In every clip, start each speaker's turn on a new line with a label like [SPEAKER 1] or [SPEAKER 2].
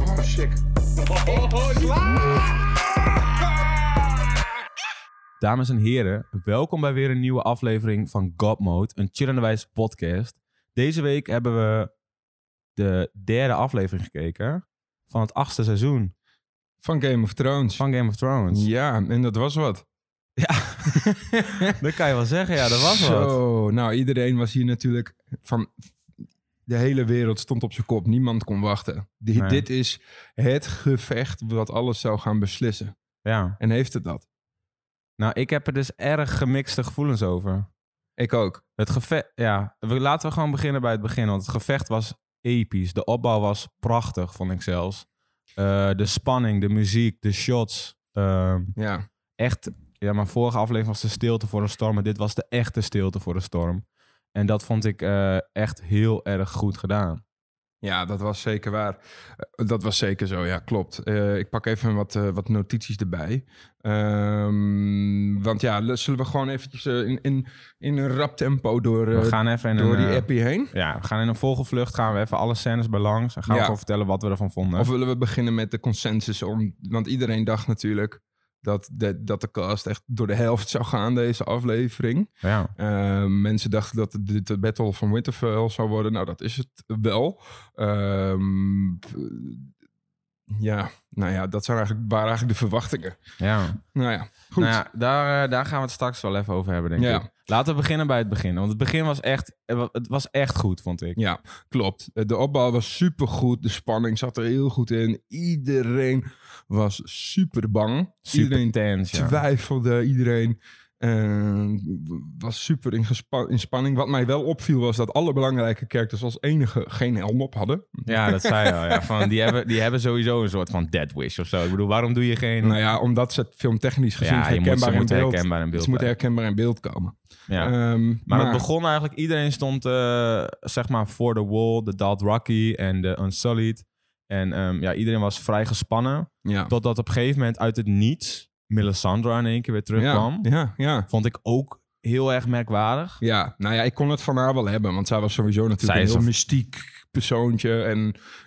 [SPEAKER 1] Oh, sick.
[SPEAKER 2] Dames en heren, welkom bij weer een nieuwe aflevering van God Mode, een chillende wijze podcast. Deze week hebben we de derde aflevering gekeken van het achtste seizoen
[SPEAKER 1] Van Game of Thrones.
[SPEAKER 2] van Game of Thrones.
[SPEAKER 1] Ja, en dat was wat.
[SPEAKER 2] Dat kan je wel zeggen, ja, dat was wat.
[SPEAKER 1] Zo, nou iedereen was hier natuurlijk van... De hele wereld stond op zijn kop. Niemand kon wachten. Di-
[SPEAKER 2] Nee.
[SPEAKER 1] Dit is het gevecht wat alles zou gaan beslissen.
[SPEAKER 2] Ja.
[SPEAKER 1] En heeft het dat?
[SPEAKER 2] Nou, ik heb er dus erg gemixte gevoelens over.
[SPEAKER 1] Ik ook.
[SPEAKER 2] Het gevecht, ja, we, laten we gewoon beginnen bij het begin, want het gevecht was episch. De opbouw was prachtig, vond ik zelfs. Eh, de spanning, de muziek, de shots. ehm,
[SPEAKER 1] Ja.
[SPEAKER 2] echt. Ja, mijn vorige aflevering was de stilte voor een storm. Maar dit was de echte stilte voor een storm. En dat vond ik eh, echt heel erg goed gedaan.
[SPEAKER 1] Ja, dat was zeker waar. Eh, Dat was zeker zo, ja, klopt. Eh, ik pak even wat, eh, wat notities erbij. Ehm, want ja, l- zullen we gewoon eventjes eh, in, in, in een rap tempo door, eh,
[SPEAKER 2] we gaan even in
[SPEAKER 1] door
[SPEAKER 2] een,
[SPEAKER 1] die
[SPEAKER 2] eh,
[SPEAKER 1] appie heen?
[SPEAKER 2] Ja, we gaan in een vogelvlucht. Gaan we even alle scènes bij langs. En gaan
[SPEAKER 1] Ja.
[SPEAKER 2] we gewoon vertellen wat we ervan vonden.
[SPEAKER 1] Of willen we beginnen met de consensus? Om, want iedereen dacht natuurlijk dat de, dat de cast echt door de helft zou gaan, deze aflevering.
[SPEAKER 2] ja.
[SPEAKER 1] Eh, mensen dachten dat dit de Battle van Winterfell zou worden. Nou, dat is het wel. Ehm, ja, nou ja, dat zijn eigenlijk, waren eigenlijk de verwachtingen.
[SPEAKER 2] ja.
[SPEAKER 1] Nou ja, goed.
[SPEAKER 2] Nou ja, daar, eh, daar gaan we het straks wel even over hebben, denk
[SPEAKER 1] Ja.
[SPEAKER 2] ik. Laten we beginnen bij het begin. Want het begin was echt, eh, wa- het was echt goed, vond ik.
[SPEAKER 1] Ja, klopt. Eh, De opbouw was supergoed. De spanning zat er heel goed in. Iedereen was super bang.
[SPEAKER 2] Super
[SPEAKER 1] iedereen
[SPEAKER 2] intense, ja.
[SPEAKER 1] twijfelde. Iedereen eh, was super in, gespa- in spanning. Wat mij wel opviel was dat alle belangrijke characters als enige geen helm op hadden.
[SPEAKER 2] Ja, dat zei je al. Ja. Van, die, hebben, die hebben sowieso een soort van dead wish of zo. Ik bedoel, waarom doe je geen...
[SPEAKER 1] Nou ja, omdat ze het filmtechnisch gezien
[SPEAKER 2] ja, je moet, ze
[SPEAKER 1] herkenbaar, in
[SPEAKER 2] moeten
[SPEAKER 1] beeld,
[SPEAKER 2] herkenbaar in beeld
[SPEAKER 1] Ze moeten
[SPEAKER 2] blijven.
[SPEAKER 1] herkenbaar in beeld komen.
[SPEAKER 2] Ja.
[SPEAKER 1] Ehm,
[SPEAKER 2] Maar, het begon eigenlijk, iedereen stond eh, zeg maar voor de wall, de Dothraki en de Unsullied. En ehm, ja, iedereen was vrij gespannen.
[SPEAKER 1] ja.
[SPEAKER 2] Totdat op een gegeven moment uit het niets Melisandre in één keer weer terugkwam.
[SPEAKER 1] Ja, ja, ja.
[SPEAKER 2] Vond ik ook heel erg merkwaardig.
[SPEAKER 1] Ja, nou ja, ik kon het van haar wel hebben. Want zij was sowieso natuurlijk
[SPEAKER 2] Zij
[SPEAKER 1] een
[SPEAKER 2] is
[SPEAKER 1] heel
[SPEAKER 2] een-
[SPEAKER 1] mystiek persoontje. En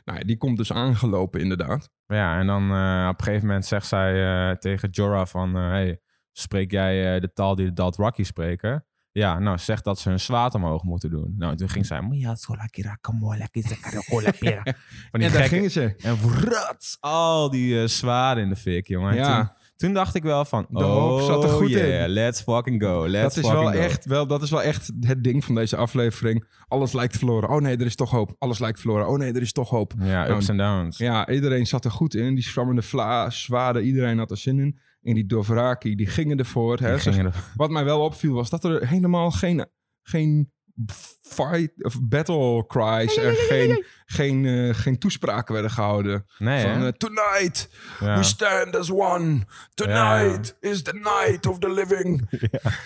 [SPEAKER 1] nou ja, die komt dus aangelopen inderdaad.
[SPEAKER 2] Ja, en dan eh, op een gegeven moment zegt zij eh, tegen Jorah van... eh, hey, spreek jij eh, de taal die de Dothraki spreken? Ja, nou, zeg dat ze hun zwaard omhoog moeten doen. Nou, toen ging zij... "Mia sola kira kamola kisa karakola pera." Van die
[SPEAKER 1] en daar
[SPEAKER 2] gekke
[SPEAKER 1] gingen ze.
[SPEAKER 2] En vrat, al die eh zwaarden in de fik, jongen. En
[SPEAKER 1] Ja.
[SPEAKER 2] Toen, toen dacht ik wel van,
[SPEAKER 1] De hoop
[SPEAKER 2] oh
[SPEAKER 1] zat er goed
[SPEAKER 2] yeah,
[SPEAKER 1] in.
[SPEAKER 2] let's fucking go. Let's
[SPEAKER 1] Dat is,
[SPEAKER 2] fucking
[SPEAKER 1] wel
[SPEAKER 2] go.
[SPEAKER 1] echt, wel, dat is wel echt het ding van deze aflevering. Alles lijkt verloren. Oh nee, er is toch hoop. Alles lijkt verloren. Oh nee, er is toch hoop.
[SPEAKER 2] Ja, ups en downs.
[SPEAKER 1] Ja, iedereen zat er goed in. Die schrammende vla, zwaarden, iedereen had er zin in. En die Dovraki, die gingen ervoor. Hè.
[SPEAKER 2] Die
[SPEAKER 1] Ze-
[SPEAKER 2] gingen er-
[SPEAKER 1] Wat mij wel opviel was dat er helemaal geen, geen fight of battle cries en geen, geen, eh, geen toespraken werden gehouden.
[SPEAKER 2] Nee,
[SPEAKER 1] Van
[SPEAKER 2] hè?
[SPEAKER 1] eh, tonight
[SPEAKER 2] Ja.
[SPEAKER 1] we stand as one. Tonight is the night of the living.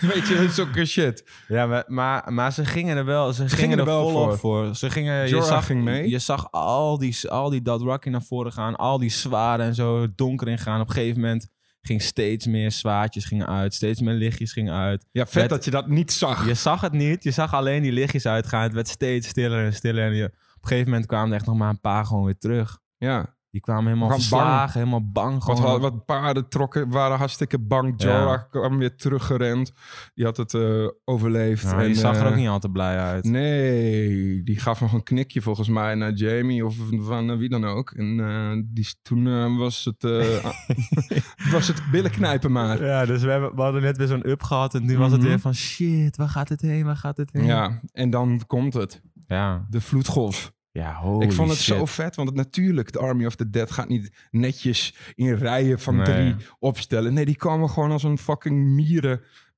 [SPEAKER 1] Weet je, zulke shit.
[SPEAKER 2] Ja, maar, maar, maar ze gingen er wel, ze gingen er
[SPEAKER 1] gingen er wel
[SPEAKER 2] volop
[SPEAKER 1] voor.
[SPEAKER 2] voor. Ze gingen, je
[SPEAKER 1] Jorah
[SPEAKER 2] zag,
[SPEAKER 1] ging mee.
[SPEAKER 2] Je zag al die, al die Dothraki naar voren gaan, al die zwaarden en zo donker in gaan. Op een gegeven moment ging steeds meer zwaardjes gingen uit, steeds meer lichtjes gingen uit.
[SPEAKER 1] Ja, vet
[SPEAKER 2] Met-
[SPEAKER 1] dat je dat niet zag.
[SPEAKER 2] Je zag het niet. Je zag alleen die lichtjes uitgaan. Het werd steeds stiller en stiller. En je, op een gegeven moment kwamen er echt nog maar een paar gewoon weer terug.
[SPEAKER 1] Ja.
[SPEAKER 2] Die kwamen helemaal
[SPEAKER 1] Gewoon
[SPEAKER 2] verslagen, helemaal bang.
[SPEAKER 1] Wat,
[SPEAKER 2] Gewoon.
[SPEAKER 1] wat paarden trokken, waren hartstikke bang. Jorah
[SPEAKER 2] Ja.
[SPEAKER 1] kwam weer teruggerend. Die had het eh, overleefd.
[SPEAKER 2] Ja, die
[SPEAKER 1] En,
[SPEAKER 2] zag er
[SPEAKER 1] eh,
[SPEAKER 2] ook niet al te blij uit.
[SPEAKER 1] Nee, die gaf nog een knikje volgens mij naar Jamie of van eh, wie dan ook. En eh, die, s- toen eh, was het, eh, was het billen knijpen maar. Mhm.
[SPEAKER 2] Ja, dus we, hebben, we hadden net weer zo'n up gehad. En nu was het weer van shit, waar gaat dit heen? Waar gaat dit heen?
[SPEAKER 1] Ja, en dan komt het.
[SPEAKER 2] ja.
[SPEAKER 1] De vloedgolf.
[SPEAKER 2] ja holy
[SPEAKER 1] ik vond het
[SPEAKER 2] shit.
[SPEAKER 1] zo vet, want het, natuurlijk, de Army of the Dead gaat niet netjes in rijen van
[SPEAKER 2] Nee.
[SPEAKER 1] drie opstellen. Nee, die kwamen gewoon als een fucking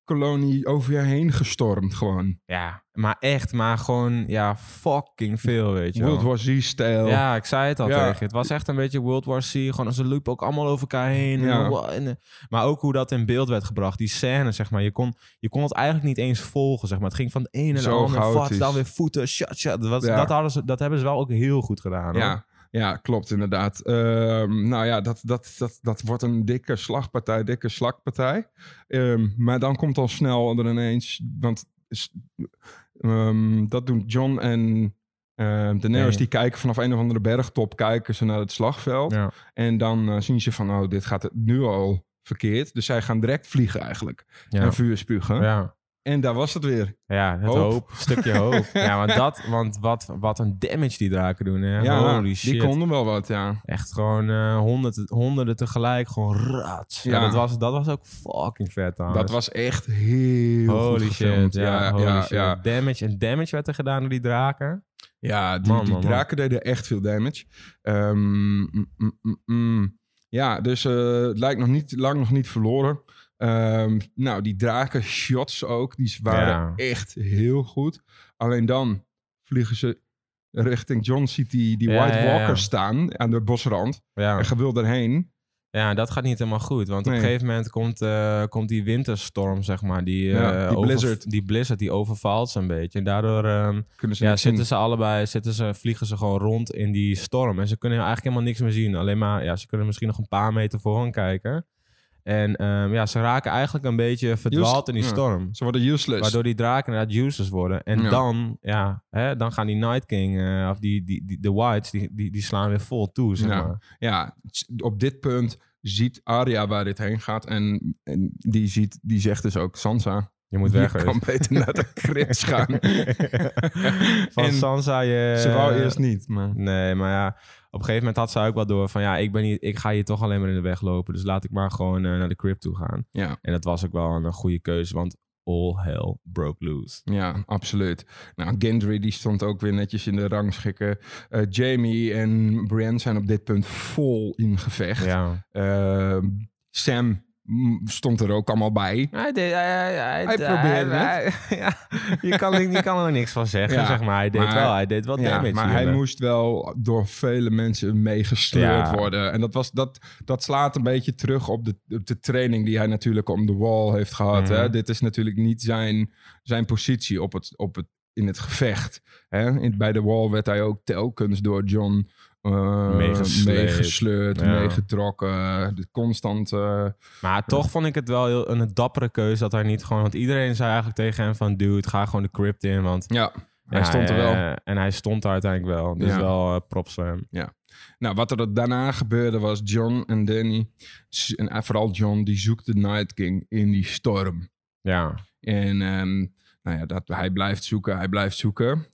[SPEAKER 1] mierenkolonie over je heen gestormd gewoon.
[SPEAKER 2] Ja, maar echt, maar gewoon ja, fucking veel, weet je wel.
[SPEAKER 1] World War Z-stijl.
[SPEAKER 2] Ja, ik zei het al
[SPEAKER 1] Oh. Ja.
[SPEAKER 2] tegen je. Het was echt een beetje World War C. Gewoon als een loop ook allemaal over elkaar heen. En
[SPEAKER 1] Ja.
[SPEAKER 2] wa- en, eh, maar ook hoe dat in beeld werd gebracht. Die scène, zeg maar. Je kon, je kon het eigenlijk niet eens volgen, zeg maar. Het ging van de ene naar de
[SPEAKER 1] Zo
[SPEAKER 2] andere. Vat,
[SPEAKER 1] chaotisch.
[SPEAKER 2] dan weer voeten. Shut, shut. Dat, was-
[SPEAKER 1] Ja.
[SPEAKER 2] dat, hadden ze, dat hebben ze wel ook heel goed gedaan. hoor.
[SPEAKER 1] Ja, ja klopt inderdaad. Ehm, nou ja, dat, dat, dat, dat wordt een dikke slagpartij, dikke slagpartij. Ehm, maar dan komt al snel er ineens... Want is- ehm, dat doen John en Ehm de Nero's
[SPEAKER 2] Nee.
[SPEAKER 1] die kijken vanaf een of andere bergtop kijken ze naar het slagveld.
[SPEAKER 2] Ja.
[SPEAKER 1] En dan eh, zien ze van, oh, dit gaat het nu al verkeerd. Dus zij gaan direct vliegen eigenlijk.
[SPEAKER 2] Ja.
[SPEAKER 1] En vuur spugen.
[SPEAKER 2] Ja.
[SPEAKER 1] En daar was het weer.
[SPEAKER 2] Ja, het
[SPEAKER 1] Hoop.
[SPEAKER 2] hoop. Stukje hoop. ja, want, dat, want wat, wat een damage die draken doen. Hè?
[SPEAKER 1] Ja,
[SPEAKER 2] Holy
[SPEAKER 1] die
[SPEAKER 2] shit. Oh,
[SPEAKER 1] konden wel wat, ja.
[SPEAKER 2] Echt gewoon eh, honderden, honderden tegelijk. Gewoon rats. Ja.
[SPEAKER 1] Ja.
[SPEAKER 2] dat, was, dat was ook fucking vet trouwens.
[SPEAKER 1] Dat was echt heel goed
[SPEAKER 2] Holy
[SPEAKER 1] gefilmd.
[SPEAKER 2] shit, ja,
[SPEAKER 1] ja,
[SPEAKER 2] holy
[SPEAKER 1] ja,
[SPEAKER 2] shit.
[SPEAKER 1] ja.
[SPEAKER 2] Damage en damage werd er gedaan door die draken.
[SPEAKER 1] Ja, die,
[SPEAKER 2] Man,
[SPEAKER 1] die
[SPEAKER 2] man, man.
[SPEAKER 1] draken deden echt veel damage. Ehm, mm, mm, mm, mm. Ja, dus eh, het lijkt nog niet, lang nog niet verloren. Ehm, nou, die draken shots ook, die waren echt heel goed. Alleen dan vliegen ze richting John, ziet die, die
[SPEAKER 2] Ja,
[SPEAKER 1] White
[SPEAKER 2] ja, ja.
[SPEAKER 1] Walkers staan aan de bosrand.
[SPEAKER 2] Ja.
[SPEAKER 1] En gewil daarheen.
[SPEAKER 2] ja, dat gaat niet helemaal goed. Want op
[SPEAKER 1] Nee.
[SPEAKER 2] een gegeven moment komt, eh, komt die winterstorm, zeg maar. Die,
[SPEAKER 1] Ja,
[SPEAKER 2] eh,
[SPEAKER 1] die
[SPEAKER 2] over-
[SPEAKER 1] blizzard.
[SPEAKER 2] die blizzard, die overvalt ze een beetje. En daardoor ehm,
[SPEAKER 1] Kunnen ze
[SPEAKER 2] ja,
[SPEAKER 1] niks
[SPEAKER 2] zitten
[SPEAKER 1] zien.
[SPEAKER 2] ze allebei, zitten ze, vliegen ze gewoon rond in die storm. En ze kunnen eigenlijk helemaal niks meer zien. Alleen maar, ja, ze kunnen misschien nog een paar meter voor hen kijken. En ehm, ja, ze raken eigenlijk een beetje verdwaald in die
[SPEAKER 1] ja.
[SPEAKER 2] storm.
[SPEAKER 1] Ze worden useless.
[SPEAKER 2] Waardoor die draken inderdaad users worden. En
[SPEAKER 1] Ja.
[SPEAKER 2] dan, ja, hè, dan gaan die Night King, eh, of die, die, die, de Whites, die, die, die slaan weer vol toe, zeg
[SPEAKER 1] Ja.
[SPEAKER 2] maar.
[SPEAKER 1] ja, s- op dit punt ziet Arya waar dit heen gaat. En, en die, ziet, die zegt dus ook Sansa.
[SPEAKER 2] Je moet
[SPEAKER 1] je
[SPEAKER 2] weg.
[SPEAKER 1] kan beter naar de crypt gaan.
[SPEAKER 2] Van
[SPEAKER 1] En
[SPEAKER 2] Sansa, je...
[SPEAKER 1] Ze wou eerst niet, maar...
[SPEAKER 2] Nee, maar ja, op een gegeven moment had ze ook wel door van... Ja, ik, ben hier, ik ga hier toch alleen maar in de weg lopen. Dus laat ik maar gewoon eh, naar de crypt toe gaan.
[SPEAKER 1] Ja.
[SPEAKER 2] En dat was ook wel een, eh, goede keuze, want all hell broke loose.
[SPEAKER 1] Ja, absoluut. Nou, Gendry die stond ook weer netjes in de rangschikken. Eh Jamie en Brienne zijn op dit punt vol in gevecht.
[SPEAKER 2] Ja.
[SPEAKER 1] Eh, Sam mm, stond er ook allemaal bij.
[SPEAKER 2] Hij, deed, hij, hij, hij,
[SPEAKER 1] Hij probeerde
[SPEAKER 2] hij- ja, je, kan, er- je kan er niks van zeggen,
[SPEAKER 1] Ja,
[SPEAKER 2] zeg maar. Hij deed,
[SPEAKER 1] maar-
[SPEAKER 2] wel, hij deed wel damage.
[SPEAKER 1] Ja, maar hij
[SPEAKER 2] hierbij.
[SPEAKER 1] moest wel door vele mensen meegesleurd
[SPEAKER 2] Ja.
[SPEAKER 1] worden. En dat, was, dat, dat slaat een beetje terug op de, op de training die hij natuurlijk om de wall heeft gehad.
[SPEAKER 2] Mhm.
[SPEAKER 1] hè. Dit is natuurlijk niet zijn, zijn positie op het, op het, in het gevecht. Hè? In, bij de wall werd hij ook telkens door John eh,
[SPEAKER 2] Meegesleept.
[SPEAKER 1] meegesleurd,
[SPEAKER 2] Ja.
[SPEAKER 1] meegetrokken. De constant... eh,
[SPEAKER 2] Maar toch vond ik het wel heel, een dappere keuze dat hij niet gewoon... Want iedereen zei eigenlijk tegen hem van... Dude, ga gewoon de crypt in, want...
[SPEAKER 1] ja, hij
[SPEAKER 2] Ja,
[SPEAKER 1] stond er wel.
[SPEAKER 2] eh, En hij stond er uiteindelijk wel. Dus
[SPEAKER 1] Ja.
[SPEAKER 2] wel eh, props voor hem.
[SPEAKER 1] Nou, wat er daarna gebeurde was John en Danny, s- en eh, vooral John, die zoekt de Night King in die storm.
[SPEAKER 2] Ja.
[SPEAKER 1] En ehm, nou ja, dat, hij blijft zoeken, hij blijft zoeken.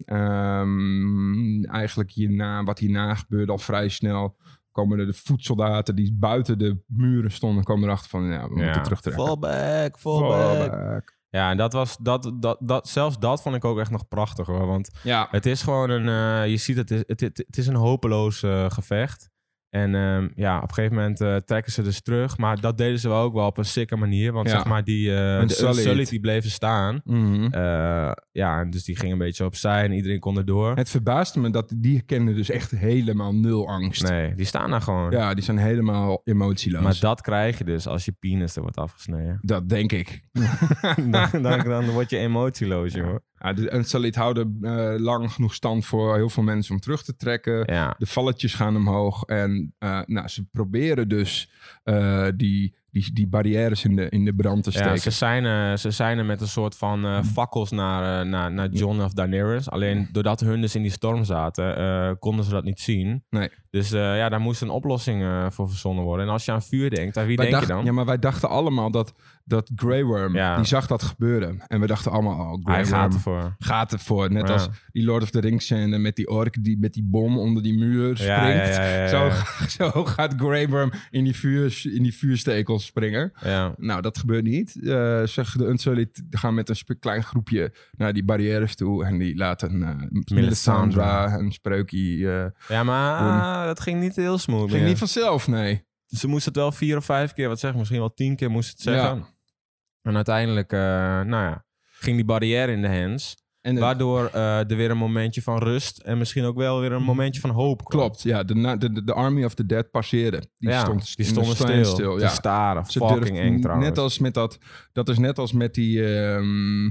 [SPEAKER 1] Ehm, eigenlijk hierna, wat hierna gebeurde al vrij snel, komen er de voedsoldaten die buiten de muren stonden, komen erachter van, ja, we
[SPEAKER 2] Ja.
[SPEAKER 1] moeten terugtrekken.
[SPEAKER 2] Fallback,
[SPEAKER 1] Fallback.
[SPEAKER 2] Ja, en dat was... Dat, dat, dat, zelfs dat vond ik ook echt nog prachtig, hoor. Want
[SPEAKER 1] Ja,
[SPEAKER 2] Het is gewoon een. eh, je ziet, het is, het, het, het is een hopeloos eh, gevecht. En ehm, ja, op een gegeven moment eh, trekken ze dus terug. Maar dat deden ze wel ook wel op een sicke manier. Want
[SPEAKER 1] Ja.
[SPEAKER 2] zeg maar, die eh de
[SPEAKER 1] Unsullied.
[SPEAKER 2] Unsullied, die bleven staan.
[SPEAKER 1] mhm.
[SPEAKER 2] Eh, ja, en dus die ging een beetje opzij en iedereen kon erdoor.
[SPEAKER 1] het verbaasde me dat die kenden dus echt helemaal nul angst.
[SPEAKER 2] Nee, die staan daar gewoon.
[SPEAKER 1] Ja, die zijn helemaal emotieloos.
[SPEAKER 2] Maar dat krijg je dus als je penis er wordt afgesneden.
[SPEAKER 1] dat denk ik.
[SPEAKER 2] dan, dan, dan word je emotieloos, joh.
[SPEAKER 1] Ja, de Unsullied houden eh, lang genoeg stand voor heel veel mensen om terug te trekken.
[SPEAKER 2] Ja.
[SPEAKER 1] De valletjes gaan omhoog. En eh, nou, ze proberen dus eh, die, die, die barrières in de, in de brand te
[SPEAKER 2] Ja,
[SPEAKER 1] steken. Mm.
[SPEAKER 2] ze zijn, eh, ze zijn er met een soort van eh, fakkels naar, eh, naar, naar John of Daenerys. Alleen doordat hun dus in die storm zaten, eh, konden ze dat niet zien.
[SPEAKER 1] Nee.
[SPEAKER 2] Dus eh, ja, daar moest een oplossing eh, voor verzonnen worden. En als je aan vuur denkt, aan wie
[SPEAKER 1] Wij
[SPEAKER 2] denk
[SPEAKER 1] dacht-
[SPEAKER 2] je dan?
[SPEAKER 1] Ja, maar wij dachten allemaal dat, dat Grey Worm,
[SPEAKER 2] Ja.
[SPEAKER 1] die zag dat gebeuren. En we dachten allemaal, oh, Grey
[SPEAKER 2] Hij
[SPEAKER 1] Worm
[SPEAKER 2] gaat ervoor.
[SPEAKER 1] gaat ervoor. Net
[SPEAKER 2] Ja.
[SPEAKER 1] als die Lord of the Rings scène met die ork die met die bom onder die muur springt.
[SPEAKER 2] Ja, ja, ja, ja, ja.
[SPEAKER 1] Zo, zo gaat Grey Worm in die, vuur, in die vuurstekels springen.
[SPEAKER 2] Ja.
[SPEAKER 1] Nou, dat gebeurt niet. Eh, zeg, de Unsullied gaan met een spe- klein groepje naar die barrières toe. En die laten eh Melisandre een spreukje... eh
[SPEAKER 2] ja, maar ah, dat ging niet heel smooth.
[SPEAKER 1] ging
[SPEAKER 2] meer.
[SPEAKER 1] niet vanzelf, nee.
[SPEAKER 2] Ze moest het wel vier of vijf keer wat zeggen. Misschien wel tien keer moest het zeggen.
[SPEAKER 1] Ja.
[SPEAKER 2] En uiteindelijk, eh, nou ja, ging die barrière in de hands.
[SPEAKER 1] En het-
[SPEAKER 2] Waardoor eh, er weer een momentje van rust en misschien ook wel weer een momentje van hoop kwam.
[SPEAKER 1] Mhm. klopt, ja. De, na- de, de, de Army of the Dead passeerde. Die,
[SPEAKER 2] ja,
[SPEAKER 1] stond,
[SPEAKER 2] die
[SPEAKER 1] in
[SPEAKER 2] stonden
[SPEAKER 1] de stand
[SPEAKER 2] stil, te
[SPEAKER 1] ja.
[SPEAKER 2] staren.
[SPEAKER 1] Ze
[SPEAKER 2] Fucking
[SPEAKER 1] durfden
[SPEAKER 2] eng trouwens.
[SPEAKER 1] Net als met dat... Dat is net als met die... ehm,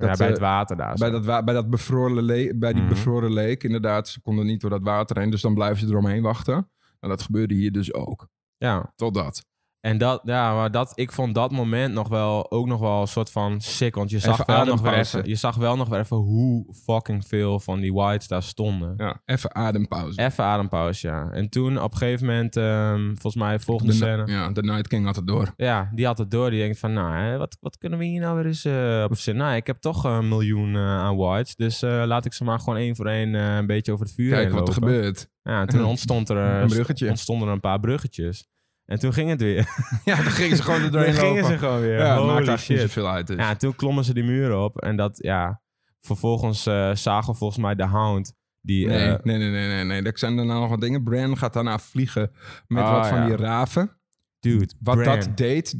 [SPEAKER 2] ja,
[SPEAKER 1] dat,
[SPEAKER 2] bij
[SPEAKER 1] eh,
[SPEAKER 2] het water daar.
[SPEAKER 1] bij
[SPEAKER 2] zo.
[SPEAKER 1] dat, wa- bij, dat bevroren le- bij die
[SPEAKER 2] Mhm.
[SPEAKER 1] bevroren leek, inderdaad. Ze konden niet door Nou, dat water heen, dus dan blijven ze eromheen wachten. En dat gebeurde hier dus ook.
[SPEAKER 2] ja.
[SPEAKER 1] Totdat.
[SPEAKER 2] En dat, ja, maar dat, ik vond dat moment nog wel, ook nog wel een soort van sick. Want je zag,
[SPEAKER 1] Even
[SPEAKER 2] wel nog, weer
[SPEAKER 1] adempauze.
[SPEAKER 2] even, je zag wel nog weer even hoe fucking veel van die whites daar stonden.
[SPEAKER 1] Ja, even adempauze.
[SPEAKER 2] Even adempauze, ja. En toen op een gegeven moment, ehm, volgens mij volgende
[SPEAKER 1] De na-
[SPEAKER 2] scène.
[SPEAKER 1] Ja, de Night King had het door.
[SPEAKER 2] Ja, die had het door. Die denkt van, nou, hè, wat, wat kunnen we hier nou weer eens eh, op zitten? Nou, ik heb toch een miljoen eh, aan whites. Dus eh, laat ik ze maar gewoon één voor één eh, een beetje over het vuur
[SPEAKER 1] Kijk
[SPEAKER 2] heen
[SPEAKER 1] wat er
[SPEAKER 2] lopen.
[SPEAKER 1] gebeurt.
[SPEAKER 2] Ja, en toen ontstond er, eh,
[SPEAKER 1] Een bruggetje.
[SPEAKER 2] ontstonden er een paar bruggetjes. En toen ging het weer.
[SPEAKER 1] Ja, dan gingen ze gewoon er
[SPEAKER 2] Toen
[SPEAKER 1] doorheen
[SPEAKER 2] gingen
[SPEAKER 1] lopen.
[SPEAKER 2] ze gewoon weer.
[SPEAKER 1] ja, het
[SPEAKER 2] Holy
[SPEAKER 1] maakt eigenlijk niet
[SPEAKER 2] shit.
[SPEAKER 1] zoveel uit. Dus.
[SPEAKER 2] Ja, en toen klommen ze die muren op. En dat, ja... Vervolgens eh, zagen we volgens mij de Hound. Die,
[SPEAKER 1] Nee,
[SPEAKER 2] eh,
[SPEAKER 1] nee, nee, nee, nee, nee. Er zijn daarna nog wat dingen. Bran gaat daarna vliegen met
[SPEAKER 2] Ah,
[SPEAKER 1] wat van
[SPEAKER 2] ja.
[SPEAKER 1] die raven.
[SPEAKER 2] dude,
[SPEAKER 1] Wat
[SPEAKER 2] Bran.
[SPEAKER 1] dat deed,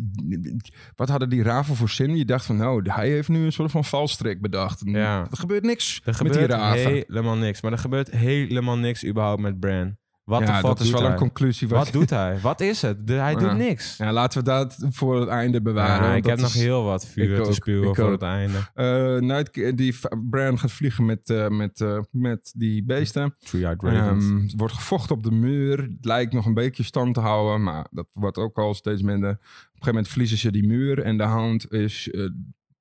[SPEAKER 1] wat hadden die raven voor zin? Je dacht van, nou, hij heeft nu een soort van valstrik bedacht.
[SPEAKER 2] Ja.
[SPEAKER 1] Er gebeurt niks
[SPEAKER 2] Er
[SPEAKER 1] met die
[SPEAKER 2] gebeurt
[SPEAKER 1] raven.
[SPEAKER 2] helemaal niks. Maar er gebeurt helemaal niks überhaupt met Bran. Wat de
[SPEAKER 1] ja,
[SPEAKER 2] fuck
[SPEAKER 1] dat is
[SPEAKER 2] doet
[SPEAKER 1] wel
[SPEAKER 2] hij?
[SPEAKER 1] een conclusie.
[SPEAKER 2] Wat doet hij? Wat is het? De- hij
[SPEAKER 1] Ja.
[SPEAKER 2] doet niks.
[SPEAKER 1] Ja, laten we dat voor het einde bewaren.
[SPEAKER 2] Ja,
[SPEAKER 1] want
[SPEAKER 2] ik
[SPEAKER 1] dat
[SPEAKER 2] heb nog
[SPEAKER 1] is-
[SPEAKER 2] heel wat vuur
[SPEAKER 1] Ik
[SPEAKER 2] te
[SPEAKER 1] ook,
[SPEAKER 2] spuwen
[SPEAKER 1] ik
[SPEAKER 2] voor
[SPEAKER 1] ook.
[SPEAKER 2] het einde.
[SPEAKER 1] Eh, Night Ki- die v- Bran gaat vliegen met, eh, met, eh, met die beesten.
[SPEAKER 2] Three-eyed
[SPEAKER 1] Ehm, er wordt gevochten op de muur. Het lijkt nog een beetje stand te houden, maar dat wordt ook al steeds minder. Op een gegeven moment verliezen ze die muur en de hound is, eh,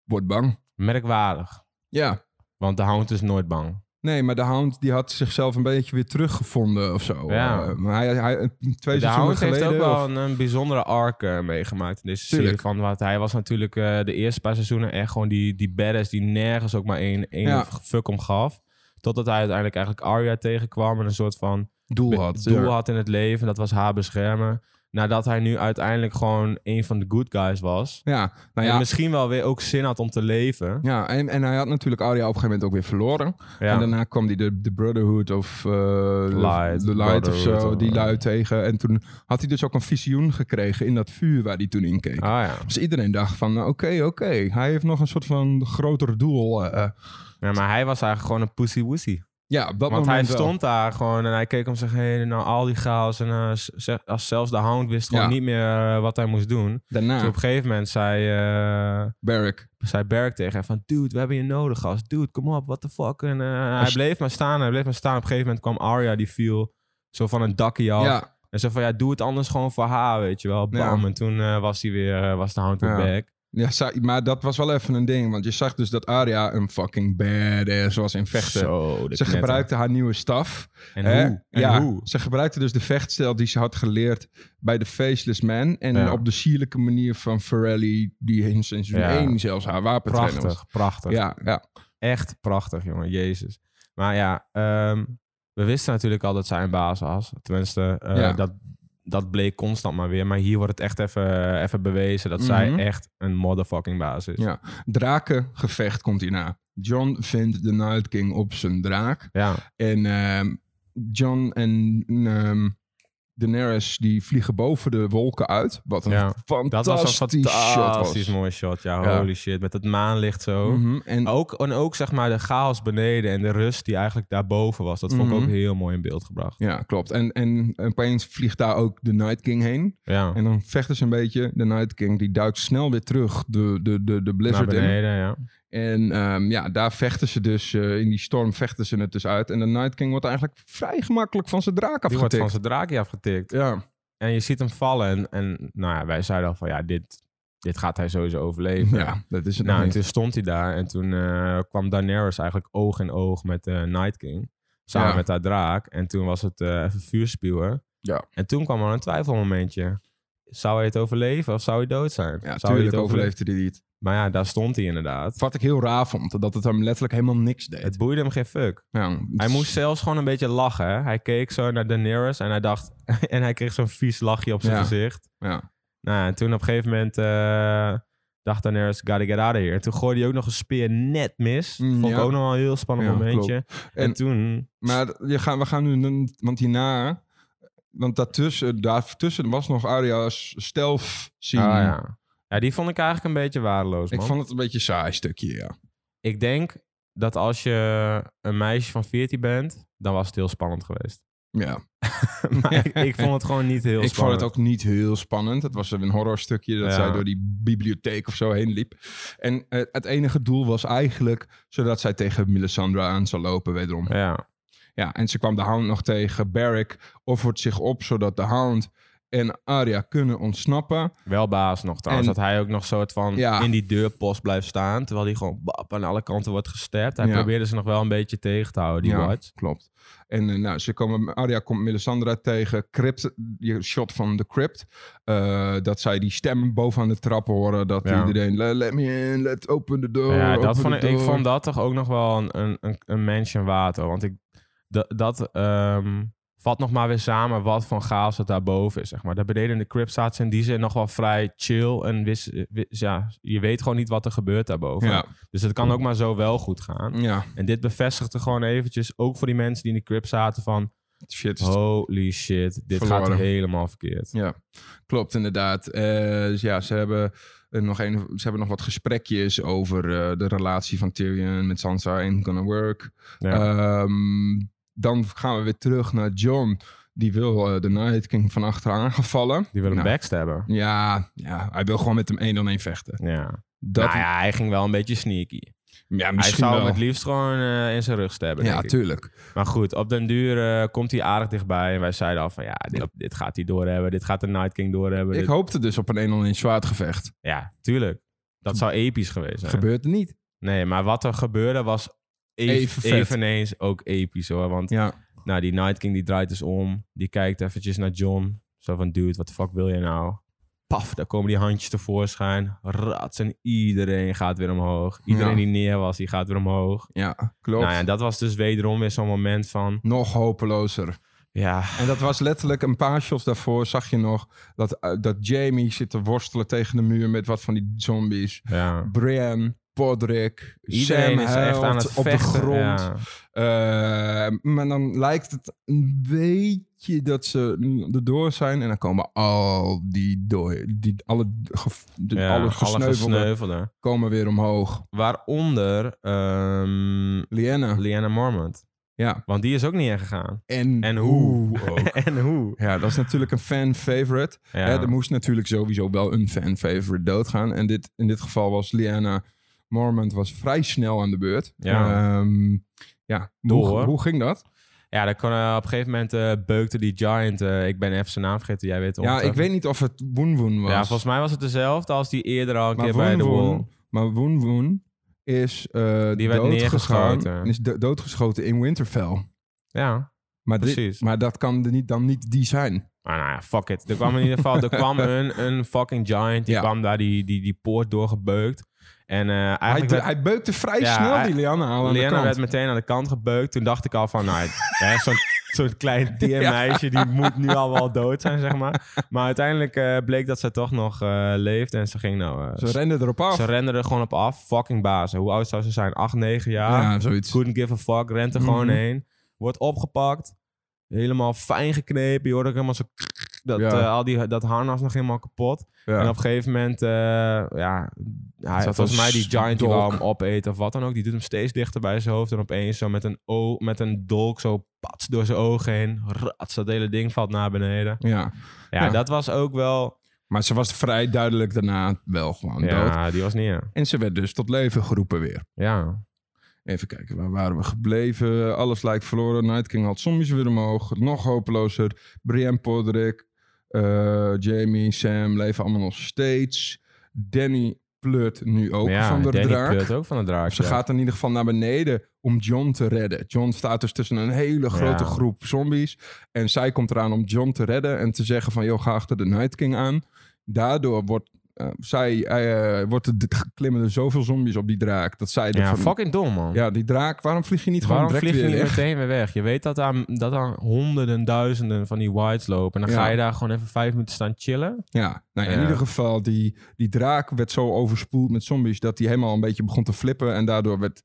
[SPEAKER 1] wordt bang.
[SPEAKER 2] Ehm, Merkwaardig.
[SPEAKER 1] Ja.
[SPEAKER 2] Want de hound is nooit bang.
[SPEAKER 1] Nee, maar de hound die had zichzelf een beetje weer teruggevonden of zo.
[SPEAKER 2] Ja.
[SPEAKER 1] Eh, maar hij, hij, twee
[SPEAKER 2] de
[SPEAKER 1] seizoenen
[SPEAKER 2] hound
[SPEAKER 1] geleden...
[SPEAKER 2] heeft ook wel
[SPEAKER 1] of-
[SPEAKER 2] een, een bijzondere arc eh, meegemaakt in deze serie.
[SPEAKER 1] Tuurlijk.
[SPEAKER 2] Van wat hij was natuurlijk eh, de eerste paar seizoenen echt gewoon die, die badass die nergens ook maar één, één
[SPEAKER 1] Ja.
[SPEAKER 2] fuck om gaf. Totdat hij uiteindelijk eigenlijk Arya tegenkwam en een soort van
[SPEAKER 1] doel
[SPEAKER 2] be-
[SPEAKER 1] had.
[SPEAKER 2] doel
[SPEAKER 1] Ja.
[SPEAKER 2] had in het leven. Dat was haar beschermen. Nadat hij nu uiteindelijk gewoon een van de good guys was.
[SPEAKER 1] Ja, nou
[SPEAKER 2] En
[SPEAKER 1] ja.
[SPEAKER 2] misschien wel weer ook zin had om te leven.
[SPEAKER 1] Ja, en, en hij had natuurlijk Arya op een gegeven moment ook weer verloren.
[SPEAKER 2] Ja.
[SPEAKER 1] En daarna kwam die de, de Brotherhood of eh,
[SPEAKER 2] Light,
[SPEAKER 1] de Light of
[SPEAKER 2] Brotherhood,
[SPEAKER 1] zo,
[SPEAKER 2] eh.
[SPEAKER 1] die lui tegen. En toen had hij dus ook een visioen gekregen in dat vuur waar hij toen in keek.
[SPEAKER 2] Ah ja.
[SPEAKER 1] Dus iedereen dacht van, oké, oké, hij heeft nog een soort van groter doel. eh.
[SPEAKER 2] ja. Maar hij was eigenlijk gewoon een pussy woesie.
[SPEAKER 1] ja, op dat
[SPEAKER 2] Want hij
[SPEAKER 1] moment wel.
[SPEAKER 2] stond daar gewoon en hij keek om zich heen. Nou, al die chaos. En eh, z- zeg- als zelfs de hound wist gewoon
[SPEAKER 1] Ja.
[SPEAKER 2] niet meer eh, wat hij moest doen.
[SPEAKER 1] Daarna,
[SPEAKER 2] Toen op een gegeven moment zei, eh
[SPEAKER 1] Barrack.
[SPEAKER 2] zei Berk tegen hem van... Dude, we hebben je nodig, gast. Dude, kom op, what the fuck. En, eh, hij
[SPEAKER 1] Als-
[SPEAKER 2] bleef maar staan, hij bleef maar staan. Op een gegeven moment kwam Arya, die viel zo van een dakje af.
[SPEAKER 1] Ja,
[SPEAKER 2] En zo van, ja, doe het anders gewoon voor haar, weet je wel. Bam.
[SPEAKER 1] Ja.
[SPEAKER 2] En toen eh, was hij weer, eh, was de hound weer
[SPEAKER 1] Ja.
[SPEAKER 2] back.
[SPEAKER 1] ja, sa- maar dat was wel even een ding. Want je zag dus dat Arya een fucking badass was in vechten.
[SPEAKER 2] Zo, de
[SPEAKER 1] Ze
[SPEAKER 2] knetter.
[SPEAKER 1] gebruikte haar nieuwe staf.
[SPEAKER 2] En
[SPEAKER 1] Hè?
[SPEAKER 2] hoe? En
[SPEAKER 1] ja,
[SPEAKER 2] hoe?
[SPEAKER 1] Ze gebruikte dus de vechtstijl die ze had geleerd bij de Faceless Man. En
[SPEAKER 2] Ja.
[SPEAKER 1] op de sierlijke manier van Ferrelli, die in seizoen
[SPEAKER 2] Ja.
[SPEAKER 1] 1 zelfs haar wapentrainer was.
[SPEAKER 2] Prachtig, prachtig.
[SPEAKER 1] Ja, ja.
[SPEAKER 2] Echt prachtig, jongen. Jezus. Maar ja, ehm, we wisten natuurlijk al dat zij een baas was. Tenminste, eh,
[SPEAKER 1] Ja.
[SPEAKER 2] dat, dat bleek constant maar weer. Maar hier wordt het echt even, even bewezen dat
[SPEAKER 1] Mhm.
[SPEAKER 2] zij echt een motherfucking baas is.
[SPEAKER 1] Ja. Drakengevecht komt hierna. John vindt de Night King op zijn draak.
[SPEAKER 2] Ja.
[SPEAKER 1] En ehm John en ehm Daenerys die vliegen boven de wolken uit. Wat een
[SPEAKER 2] Ja.
[SPEAKER 1] fantastisch
[SPEAKER 2] Dat was een
[SPEAKER 1] shot was.
[SPEAKER 2] fantastisch mooi shot. Ja,
[SPEAKER 1] Ja.
[SPEAKER 2] holy shit. Met het maanlicht zo.
[SPEAKER 1] Mhm. En
[SPEAKER 2] Ook, en ook zeg maar de chaos beneden en de rust die eigenlijk daarboven was. Dat vond ik
[SPEAKER 1] Mhm.
[SPEAKER 2] ook heel mooi in beeld gebracht.
[SPEAKER 1] Ja, klopt. En, en opeens vliegt daar ook de Night King heen.
[SPEAKER 2] Ja,
[SPEAKER 1] En dan vechten ze een beetje. De Night King die duikt snel weer terug de, de, de, de
[SPEAKER 2] naar
[SPEAKER 1] blizzard in.
[SPEAKER 2] beneden, ja.
[SPEAKER 1] En ehm, ja, daar vechten ze dus, eh, in die storm vechten ze het dus uit. En de Night King wordt eigenlijk vrij gemakkelijk van zijn draak
[SPEAKER 2] Die wordt van
[SPEAKER 1] afgetikt.
[SPEAKER 2] zijn draakje afgetikt.
[SPEAKER 1] Ja,
[SPEAKER 2] En je ziet hem vallen en, en nou ja, wij zeiden al van ja, dit, dit gaat hij sowieso overleven.
[SPEAKER 1] ja, dat is het
[SPEAKER 2] Nou,
[SPEAKER 1] nog
[SPEAKER 2] en
[SPEAKER 1] niet.
[SPEAKER 2] toen stond hij daar en toen eh, kwam Daenerys eigenlijk oog in oog met eh Night King. Samen
[SPEAKER 1] Ja.
[SPEAKER 2] met haar draak. En toen was het eh, even vuurspuwen.
[SPEAKER 1] Ja.
[SPEAKER 2] En toen kwam er een twijfelmomentje. Zou hij het overleven of zou hij dood zijn?
[SPEAKER 1] Ja,
[SPEAKER 2] zou hij
[SPEAKER 1] tuurlijk
[SPEAKER 2] het overleven?
[SPEAKER 1] overleefde hij niet.
[SPEAKER 2] Maar ja, daar stond hij inderdaad.
[SPEAKER 1] Wat ik heel raar vond, dat het hem letterlijk helemaal niks deed.
[SPEAKER 2] Het boeide hem geen fuck.
[SPEAKER 1] Ja,
[SPEAKER 2] Hij moest zelfs gewoon een beetje lachen. Hè? Hij keek zo naar Daenerys en hij dacht... en hij kreeg zo'n vies lachje op zijn
[SPEAKER 1] Ja.
[SPEAKER 2] gezicht.
[SPEAKER 1] Ja.
[SPEAKER 2] Nou, en toen op een gegeven moment eh, dacht Daenerys... Gotta get out of here. En toen gooide hij ook nog een speer net mis.
[SPEAKER 1] Mm,
[SPEAKER 2] Vond ik
[SPEAKER 1] ja.
[SPEAKER 2] ook nog wel een heel spannend
[SPEAKER 1] Ja,
[SPEAKER 2] momentje. En,
[SPEAKER 1] En-
[SPEAKER 2] toen...
[SPEAKER 1] Maar je gaan, we gaan nu, een- want hierna... Want daartussen, daartussen was nog Aria's stealth
[SPEAKER 2] Ah,
[SPEAKER 1] scene.
[SPEAKER 2] ja. ja, die vond ik eigenlijk een beetje waardeloos,
[SPEAKER 1] Ik
[SPEAKER 2] man.
[SPEAKER 1] vond het een beetje een saai stukje, ja.
[SPEAKER 2] ik denk dat als je een meisje van 14 bent... dan was het heel spannend geweest.
[SPEAKER 1] Ja.
[SPEAKER 2] maar ik, ik vond het gewoon niet heel
[SPEAKER 1] ik vond
[SPEAKER 2] spannend.
[SPEAKER 1] het ook niet heel spannend. Het was een horrorstukje dat
[SPEAKER 2] Ja.
[SPEAKER 1] zij door die bibliotheek of zo heen liep. En eh, het enige doel was eigenlijk zodat zij tegen Melisandre aan zou lopen, wederom.
[SPEAKER 2] Ja.
[SPEAKER 1] Ja, en ze kwam de Hound nog tegen. Barrick offert zich op zodat de Hound en Arya kunnen ontsnappen.
[SPEAKER 2] Wel baas nog trouwens.
[SPEAKER 1] En-
[SPEAKER 2] dat hij ook nog soort van
[SPEAKER 1] Ja.
[SPEAKER 2] in die deurpost blijft staan. Terwijl hij gewoon bap, aan alle kanten wordt gestapt. Hij
[SPEAKER 1] Ja.
[SPEAKER 2] probeerde ze nog wel een beetje tegen te houden, die
[SPEAKER 1] Ja,
[SPEAKER 2] White.
[SPEAKER 1] Klopt. En eh, nou, ze komen, Arya komt Melisandre tegen. Crypt, die shot van de crypt. Eh, dat zij die stem bovenaan de trap horen. Dat
[SPEAKER 2] Ja.
[SPEAKER 1] iedereen, "Le- let me in, let open the door.
[SPEAKER 2] Nou ja, dat
[SPEAKER 1] open
[SPEAKER 2] vond
[SPEAKER 1] the
[SPEAKER 2] ik, ik
[SPEAKER 1] Oh, door."
[SPEAKER 2] vond dat toch ook nog wel een, een, een, een mention water. Want ik, da- dat ehm, vat nog maar weer samen wat van chaos het daarboven is. Zeg maar. Daar beneden in de crypt staat ze in die zin nog wel vrij chill. En wis, wis- ja, je weet gewoon niet wat er gebeurt daarboven.
[SPEAKER 1] Ja, Mm.
[SPEAKER 2] Dus het kan ook maar zo wel goed gaan.
[SPEAKER 1] ja.
[SPEAKER 2] En dit bevestigde gewoon eventjes, ook voor die mensen die in de crypt zaten, van
[SPEAKER 1] Shit.
[SPEAKER 2] Oh. holy shit, dit gaat
[SPEAKER 1] Verloren.
[SPEAKER 2] helemaal verkeerd.
[SPEAKER 1] Ja, klopt inderdaad. Eh, dus ja, ze hebben, eh, nog een, ze hebben nog wat gesprekjes over eh, de relatie van Tyrion met Sansa. Ain't gonna work.
[SPEAKER 2] Ja.
[SPEAKER 1] Ehm, dan gaan we weer terug naar John. Die wil eh, de Night King van achteraan gevallen.
[SPEAKER 2] die willen
[SPEAKER 1] nou,
[SPEAKER 2] hem backstabben.
[SPEAKER 1] Ja, ja, hij wil gewoon met hem één on één vechten.
[SPEAKER 2] Ja.
[SPEAKER 1] Dat,
[SPEAKER 2] nou ja, hij ging wel een beetje sneaky.
[SPEAKER 1] ja,
[SPEAKER 2] Hij
[SPEAKER 1] misschien
[SPEAKER 2] zou
[SPEAKER 1] wel.
[SPEAKER 2] hem het liefst gewoon eh, in zijn rug stabben,
[SPEAKER 1] ja,
[SPEAKER 2] denk ik.
[SPEAKER 1] tuurlijk.
[SPEAKER 2] Maar goed, op den duur eh, komt hij aardig dichtbij. En wij zeiden al van, ja, dit, dit gaat hij doorhebben. Dit gaat de Night King doorhebben.
[SPEAKER 1] Ik
[SPEAKER 2] dit-
[SPEAKER 1] hoopte dus op een één on één zwaardgevecht.
[SPEAKER 2] Ja, tuurlijk. Dat zou episch geweest zijn.
[SPEAKER 1] Gebeurt er niet.
[SPEAKER 2] nee, maar wat er gebeurde was ev-
[SPEAKER 1] Even vet.
[SPEAKER 2] eveneens ook episch, hoor. Want
[SPEAKER 1] Ja,
[SPEAKER 2] Nou, die Night King die draait dus om. Die kijkt eventjes naar John. Zo van, dude, wat de fuck wil je nou? Paf, daar komen die handjes tevoorschijn. Rats en iedereen gaat weer omhoog. Iedereen
[SPEAKER 1] Ja.
[SPEAKER 2] die neer was, die gaat weer omhoog.
[SPEAKER 1] ja klopt.
[SPEAKER 2] Nou ja, dat was dus wederom weer zo'n moment van...
[SPEAKER 1] Nog hopelozer.
[SPEAKER 2] Ja,
[SPEAKER 1] En dat was letterlijk een paar shots daarvoor zag je nog dat, eh, dat Jamie zit te worstelen tegen de muur met wat van die zombies.
[SPEAKER 2] ja.
[SPEAKER 1] Bran, Podrick,
[SPEAKER 2] Iedereen
[SPEAKER 1] Sam
[SPEAKER 2] is echt aan
[SPEAKER 1] huilt
[SPEAKER 2] het
[SPEAKER 1] op
[SPEAKER 2] vechten,
[SPEAKER 1] de grond.
[SPEAKER 2] ja.
[SPEAKER 1] Eh, maar dan lijkt het een beetje dat ze erdoor zijn en dan komen al die dooi, die alle, ge- de-
[SPEAKER 2] Ja,
[SPEAKER 1] alle gesneuvelden
[SPEAKER 2] gesneuvelden.
[SPEAKER 1] komen weer omhoog.
[SPEAKER 2] Waaronder ehm
[SPEAKER 1] Liana,
[SPEAKER 2] Liana Mormont.
[SPEAKER 1] ja.
[SPEAKER 2] Want die is ook niet ingegaan.
[SPEAKER 1] En,
[SPEAKER 2] En hoe.
[SPEAKER 1] ook.
[SPEAKER 2] en hoe.
[SPEAKER 1] Ja, dat is natuurlijk een fan favorite.
[SPEAKER 2] Ja.
[SPEAKER 1] Hè, er moest natuurlijk sowieso wel een fan-favorite doodgaan. En dit, in dit geval was Liana Mormont was vrij snel aan de beurt.
[SPEAKER 2] Ja.
[SPEAKER 1] Ehm, ja.
[SPEAKER 2] Door,
[SPEAKER 1] Hoe,
[SPEAKER 2] hoor.
[SPEAKER 1] hoe ging dat?
[SPEAKER 2] Ja, dan kon, eh, op een gegeven moment eh, beukte die Giant. eh, ik ben even zijn naam vergeten, jij weet het
[SPEAKER 1] Ja, ik
[SPEAKER 2] ongetwijfeld.
[SPEAKER 1] weet niet of het Woon Woon was.
[SPEAKER 2] Ja, volgens mij was het dezelfde als die eerder al een
[SPEAKER 1] maar
[SPEAKER 2] keer bij
[SPEAKER 1] Woon
[SPEAKER 2] de Wall.
[SPEAKER 1] Woon, maar Woon Woon is eh
[SPEAKER 2] Die werd
[SPEAKER 1] doodgegaan-
[SPEAKER 2] neergeschoten.
[SPEAKER 1] Is do- doodgeschoten in Winterfell.
[SPEAKER 2] Ja,
[SPEAKER 1] Maar, dit-
[SPEAKER 2] Precies.
[SPEAKER 1] maar dat kan er niet, dan niet die zijn.
[SPEAKER 2] maar nou ja, fuck it. Er kwam in ieder geval er kwam een, een fucking Giant. Die
[SPEAKER 1] Ja.
[SPEAKER 2] kwam daar die, die, die poort doorgebeukt. En eh,
[SPEAKER 1] Hij,
[SPEAKER 2] eigenlijk werd,
[SPEAKER 1] hij beukte vrij
[SPEAKER 2] Ja,
[SPEAKER 1] snel
[SPEAKER 2] hij-
[SPEAKER 1] die Liana aan de
[SPEAKER 2] Leanne
[SPEAKER 1] kant.
[SPEAKER 2] werd meteen aan de kant gebeukt. Toen dacht ik al van, nou, hè, zo'n zo'n klein tiermeisje die moet nu al wel dood zijn, zeg maar. Maar uiteindelijk eh, bleek dat ze toch nog eh, leefde. En ze ging nou... eh,
[SPEAKER 1] Ze renden erop af.
[SPEAKER 2] ze renden er gewoon op af. Fucking bazen. Hoe oud zou ze zijn? 8, 9 jaar.
[SPEAKER 1] ja, zoiets.
[SPEAKER 2] couldn't give a fuck, rent er gewoon
[SPEAKER 1] Mhm.
[SPEAKER 2] heen. Wordt opgepakt. Helemaal fijn geknepen. Je hoort ook helemaal zo... Dat,
[SPEAKER 1] Ja.
[SPEAKER 2] eh, al die, dat harnas nog helemaal kapot.
[SPEAKER 1] Ja.
[SPEAKER 2] En op een gegeven moment... eh, ja, hij,
[SPEAKER 1] Zat
[SPEAKER 2] volgens
[SPEAKER 1] een
[SPEAKER 2] mij die giant die
[SPEAKER 1] dolk.
[SPEAKER 2] wou hem opeten of wat dan ook. Die doet hem steeds dichter bij zijn hoofd. En opeens zo met een, o, met een dolk zo pats door zijn ogen heen. Rats, dat hele ding valt naar beneden.
[SPEAKER 1] ja.
[SPEAKER 2] Ja,
[SPEAKER 1] Ja.
[SPEAKER 2] dat was ook wel...
[SPEAKER 1] Maar ze was vrij duidelijk daarna wel gewoon dood.
[SPEAKER 2] Ja, die was niet... ja.
[SPEAKER 1] En ze werd dus tot leven geroepen weer.
[SPEAKER 2] Ja.
[SPEAKER 1] Even kijken, waar waren we gebleven? Alles lijkt verloren. Night King had zombies weer omhoog. Nog hopelozer. Brienne Podrick, eh, Jamie, Sam leven allemaal nog steeds. Danny pleurt nu ook
[SPEAKER 2] ja,
[SPEAKER 1] van de
[SPEAKER 2] Danny
[SPEAKER 1] draak.
[SPEAKER 2] pleurt ook van de draak.
[SPEAKER 1] Ze
[SPEAKER 2] ja.
[SPEAKER 1] gaat in ieder geval naar beneden om John te redden. John staat dus tussen een hele grote
[SPEAKER 2] Ja.
[SPEAKER 1] groep zombies. En zij komt eraan om John te redden en te zeggen van... joh, ga achter de Night King aan. Daardoor wordt, eh, zij, eh, wordt er, dit- klimmen er zoveel zombies op die draak... dat zij... er
[SPEAKER 2] Ja,
[SPEAKER 1] van-
[SPEAKER 2] fucking dom, man.
[SPEAKER 1] ja, die draak, waarom vlieg je niet
[SPEAKER 2] Waarom
[SPEAKER 1] gewoon
[SPEAKER 2] vlieg je
[SPEAKER 1] direct
[SPEAKER 2] niet
[SPEAKER 1] weer weg?
[SPEAKER 2] meteen weer weg? Je weet dat daar, dat daar honderden, duizenden van die whites lopen. En dan ga
[SPEAKER 1] Ja.
[SPEAKER 2] je daar gewoon even vijf minuten staan chillen.
[SPEAKER 1] Ja, nou, in
[SPEAKER 2] Ja.
[SPEAKER 1] ieder geval, die, die draak werd zo overspoeld met zombies... dat hij helemaal een beetje begon te flippen... en daardoor werd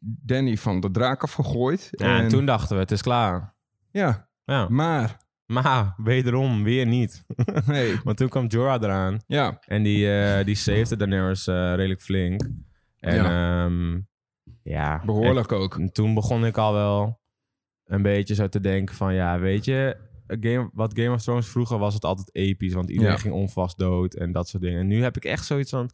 [SPEAKER 1] Danny van de draak afgegooid.
[SPEAKER 2] Ja, en toen dachten we, het is klaar.
[SPEAKER 1] ja
[SPEAKER 2] Ja.
[SPEAKER 1] maar...
[SPEAKER 2] Maar wederom, weer niet.
[SPEAKER 1] Nee,
[SPEAKER 2] Want toen kwam Jorah eraan.
[SPEAKER 1] ja...
[SPEAKER 2] En die, eh die saved Daenerys eh, redelijk flink. En ja, ja
[SPEAKER 1] Behoorlijk ook.
[SPEAKER 2] En toen begon ik al wel een beetje zo te denken van... Ja, weet je, Game, wat Game of Thrones vroeger was het altijd episch. Want iedereen
[SPEAKER 1] Ja.
[SPEAKER 2] ging onvast dood en dat soort dingen. En nu heb ik echt zoiets van...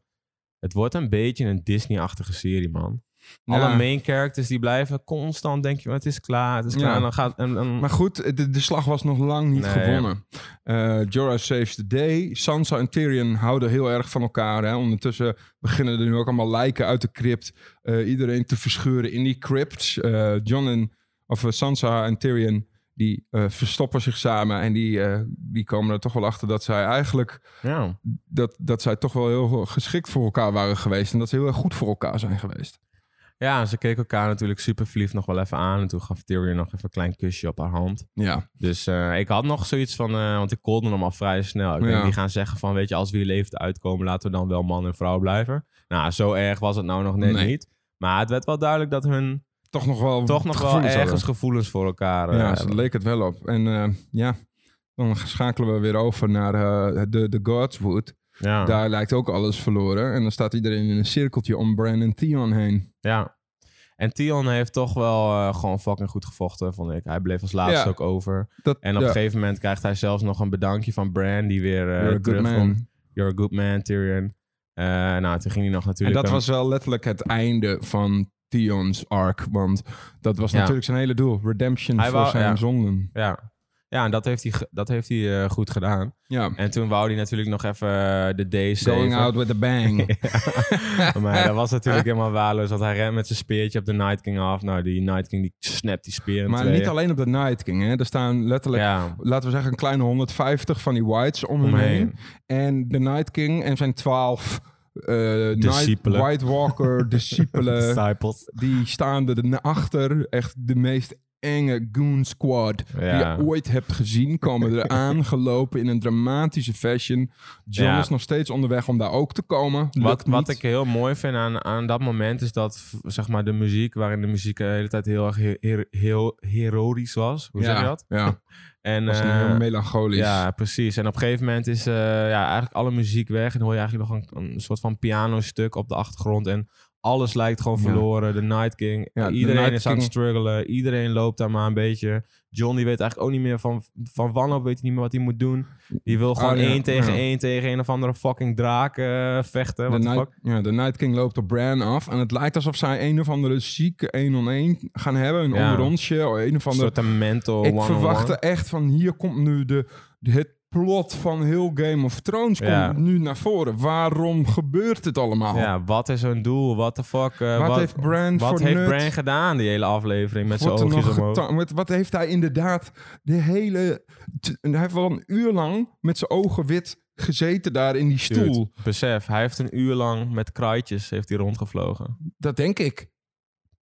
[SPEAKER 2] Het wordt een beetje een Disney-achtige serie, man. Alle
[SPEAKER 1] Ja.
[SPEAKER 2] main characters die blijven constant, denk je, "Maar het is klaar, het is klaar.
[SPEAKER 1] Ja.
[SPEAKER 2] En dan gaat... En, en-
[SPEAKER 1] Maar goed, de, de slag was nog lang niet
[SPEAKER 2] Nee,
[SPEAKER 1] gewonnen. Eh Jorah saves the day. Sansa en Tyrion houden heel erg van elkaar. Hè. Ondertussen beginnen er nu ook allemaal lijken uit de crypt. eh, iedereen te verscheuren in die crypts. Eh, Jon en, of eh, Sansa en Tyrion die eh, verstoppen zich samen. En die, eh, die komen er toch wel achter dat zij eigenlijk...
[SPEAKER 2] ja.
[SPEAKER 1] Dat, dat zij toch wel heel geschikt voor elkaar waren geweest. En dat ze heel erg goed voor elkaar zijn geweest.
[SPEAKER 2] ja, ze keken elkaar natuurlijk super verliefd nog wel even aan. En toen gaf Tyrion nog even een klein kusje op haar hand.
[SPEAKER 1] Ja,
[SPEAKER 2] Dus eh, ik had nog zoiets van, eh, want ik kolde hem al vrij snel. Ik denk,
[SPEAKER 1] Ja.
[SPEAKER 2] die gaan zeggen van, weet je, als we hier levend uitkomen, laten we dan wel man en vrouw blijven. Nou, zo erg was het nou nog net
[SPEAKER 1] Nee.
[SPEAKER 2] niet. Maar het werd wel duidelijk dat hun
[SPEAKER 1] toch nog wel
[SPEAKER 2] toch nog wel
[SPEAKER 1] gevoelens
[SPEAKER 2] ergens
[SPEAKER 1] hadden.
[SPEAKER 2] gevoelens voor elkaar eh,
[SPEAKER 1] Ja, zo
[SPEAKER 2] hebben.
[SPEAKER 1] leek het wel op. En eh, ja, dan schakelen we weer over naar eh, de, de Godswood.
[SPEAKER 2] Ja,
[SPEAKER 1] Daar lijkt ook alles verloren. En dan staat iedereen in een cirkeltje om Bran en Theon heen.
[SPEAKER 2] ja. En Tion heeft toch wel eh, gewoon fucking goed gevochten, vond ik. Hij bleef als laatste
[SPEAKER 1] Ja.
[SPEAKER 2] ook over.
[SPEAKER 1] Dat,
[SPEAKER 2] En op een gegeven moment krijgt hij zelfs nog een bedankje van Bran, die weer eh
[SPEAKER 1] You're a good
[SPEAKER 2] terugkomt.
[SPEAKER 1] man.
[SPEAKER 2] You're a good man, Tyrion. Eh, nou, toen ging hij nog
[SPEAKER 1] En
[SPEAKER 2] natuurlijk...
[SPEAKER 1] dat
[SPEAKER 2] een-
[SPEAKER 1] was wel letterlijk het einde van Theon's arc. Want dat was
[SPEAKER 2] Ja.
[SPEAKER 1] natuurlijk zijn hele doel. Redemption
[SPEAKER 2] Hij
[SPEAKER 1] voor
[SPEAKER 2] wou-
[SPEAKER 1] zijn
[SPEAKER 2] ja.
[SPEAKER 1] zonden.
[SPEAKER 2] Ja, ja en dat heeft hij, ge- dat heeft hij eh, goed gedaan.
[SPEAKER 1] Ja.
[SPEAKER 2] En toen wou hij natuurlijk nog even eh, de D
[SPEAKER 1] Going
[SPEAKER 2] zeven.
[SPEAKER 1] out with a bang.
[SPEAKER 2] Maar dat was natuurlijk helemaal waardeloos. Want hij rent met zijn speertje op de Night King af. Nou, die Night King die snapt die speer in
[SPEAKER 1] maar
[SPEAKER 2] tweeën.
[SPEAKER 1] niet alleen op de Night King. Hè. Er staan letterlijk,
[SPEAKER 2] Ja,
[SPEAKER 1] laten we zeggen, een kleine 150 van die whites om hem heen.
[SPEAKER 2] omheen.
[SPEAKER 1] En de Night King en zijn twaalf eh Night,
[SPEAKER 2] Discipelen.
[SPEAKER 1] White Walker discipelen.
[SPEAKER 2] Disciples.
[SPEAKER 1] die staan er na- achter. Echt de meest enge goon squad
[SPEAKER 2] Ja.
[SPEAKER 1] die je ooit hebt gezien. Komen er aangelopen in een dramatische fashion. John
[SPEAKER 2] Ja.
[SPEAKER 1] is nog steeds onderweg om daar ook te komen.
[SPEAKER 2] Wat,
[SPEAKER 1] Lukt
[SPEAKER 2] wat
[SPEAKER 1] niet.
[SPEAKER 2] ik heel mooi vind aan, aan dat moment is dat v- zeg maar, de muziek, waarin de muziek de hele tijd heel erg he- he- heel heroïs was. Hoe
[SPEAKER 1] ja.
[SPEAKER 2] zeg je dat?
[SPEAKER 1] Ja,
[SPEAKER 2] En,
[SPEAKER 1] was een
[SPEAKER 2] eh,
[SPEAKER 1] heel melancholisch.
[SPEAKER 2] Ja, precies. En op een gegeven moment is eh, ja, eigenlijk alle muziek weg. En hoor je eigenlijk nog een, een soort van pianostuk op de achtergrond. En alles lijkt gewoon
[SPEAKER 1] Ja.
[SPEAKER 2] verloren. De Night King.
[SPEAKER 1] Ja, de
[SPEAKER 2] iedereen
[SPEAKER 1] Night
[SPEAKER 2] is aan het
[SPEAKER 1] King-
[SPEAKER 2] struggelen. Iedereen loopt daar maar een beetje. John die weet eigenlijk ook niet meer van, van wanhoop. Weet niet meer wat hij moet doen. Die wil gewoon
[SPEAKER 1] Ah, ja,
[SPEAKER 2] één tegen
[SPEAKER 1] ja.
[SPEAKER 2] één tegen een of andere fucking draak eh, vechten.
[SPEAKER 1] De
[SPEAKER 2] Wat de
[SPEAKER 1] Night,
[SPEAKER 2] fuck?
[SPEAKER 1] ja, de Night King loopt op Bran af. En het lijkt alsof zij een of andere zieke 1-on-1 gaan hebben. Een
[SPEAKER 2] Ja.
[SPEAKER 1] onderonsje. of Een of
[SPEAKER 2] Een
[SPEAKER 1] andere
[SPEAKER 2] soort een mental
[SPEAKER 1] Ik
[SPEAKER 2] one-on-one.
[SPEAKER 1] verwachtte echt van hier komt nu de, de- het plot van heel Game of Thrones
[SPEAKER 2] Ja.
[SPEAKER 1] komt nu naar voren. Waarom gebeurt dit allemaal?
[SPEAKER 2] Ja, wat is hun doel? What the fuck? eh,
[SPEAKER 1] Oh. wat, heeft Bran
[SPEAKER 2] wat
[SPEAKER 1] voor
[SPEAKER 2] heeft
[SPEAKER 1] nut?
[SPEAKER 2] Bran gedaan die hele aflevering met zijn
[SPEAKER 1] Wordt er
[SPEAKER 2] oogjes
[SPEAKER 1] nog
[SPEAKER 2] omhoog?
[SPEAKER 1] geta- met- wat heeft hij inderdaad de hele... t- hij heeft wel een uur lang met zijn ogen wit gezeten daar in die stoel.
[SPEAKER 2] Dude, besef, hij heeft een uur lang met kraaitjes heeft hij rondgevlogen.
[SPEAKER 1] Dat denk ik.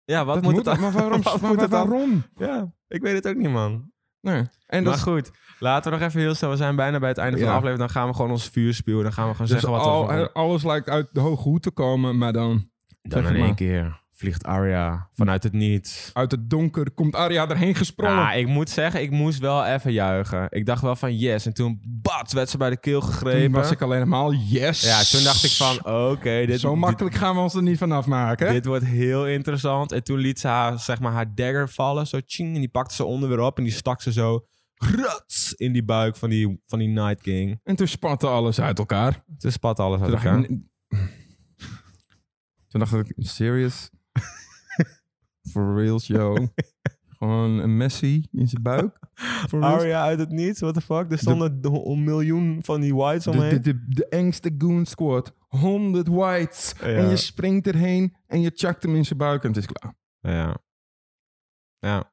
[SPEAKER 2] Ja, wat
[SPEAKER 1] dat
[SPEAKER 2] moet,
[SPEAKER 1] moet
[SPEAKER 2] het
[SPEAKER 1] maar waarom?
[SPEAKER 2] wat
[SPEAKER 1] maar
[SPEAKER 2] moet het dan?
[SPEAKER 1] waarom?
[SPEAKER 2] Ja, ik weet het ook niet, man.
[SPEAKER 1] Nee. En dat
[SPEAKER 2] maar
[SPEAKER 1] is
[SPEAKER 2] goed, laten we nog even heel snel. We zijn bijna bij het einde van de
[SPEAKER 1] Ja.
[SPEAKER 2] aflevering. Dan gaan we gewoon ons vuur spuwen. Dan gaan we gewoon
[SPEAKER 1] dus
[SPEAKER 2] zeggen wat
[SPEAKER 1] al-
[SPEAKER 2] we ervan vinden.
[SPEAKER 1] alles lijkt uit de hoge hoed te komen, maar dan
[SPEAKER 2] Dan
[SPEAKER 1] zeg
[SPEAKER 2] in
[SPEAKER 1] maar.
[SPEAKER 2] één keer vliegt Arya vanuit het niets.
[SPEAKER 1] uit het donker komt Arya erheen gesprongen.
[SPEAKER 2] Ja, ik moet zeggen, ik moest wel even juichen. Ik dacht wel van yes. En toen, bats, werd ze bij de keel
[SPEAKER 1] Toen
[SPEAKER 2] gegrepen.
[SPEAKER 1] was ik alleen helemaal yes.
[SPEAKER 2] Ja, toen dacht ik van oké, dit,
[SPEAKER 1] Zo
[SPEAKER 2] dit,
[SPEAKER 1] makkelijk gaan we ons er niet van afmaken.
[SPEAKER 2] Dit wordt heel interessant. En toen liet ze haar, zeg maar, haar dagger vallen. Zo tjing. En die pakte ze onder weer op. En die stak ze zo rats in die buik van die, van die Night King.
[SPEAKER 1] En toen spatte alles uit elkaar.
[SPEAKER 2] Ze spat alles uit
[SPEAKER 1] Toen dacht,
[SPEAKER 2] elkaar.
[SPEAKER 1] ik, toen dacht ik, serious? For real, yo. Gewoon een Messi in zijn buik. For reals?
[SPEAKER 2] Arya uit het niets. What the fuck? Er stonden do- een miljoen van die whites
[SPEAKER 1] De, de,
[SPEAKER 2] omheen.
[SPEAKER 1] de, de engste goon squad. 100 whites.
[SPEAKER 2] Ja.
[SPEAKER 1] En je springt erheen en je chuckt hem in zijn buik en het is klaar.
[SPEAKER 2] Ja. Ja.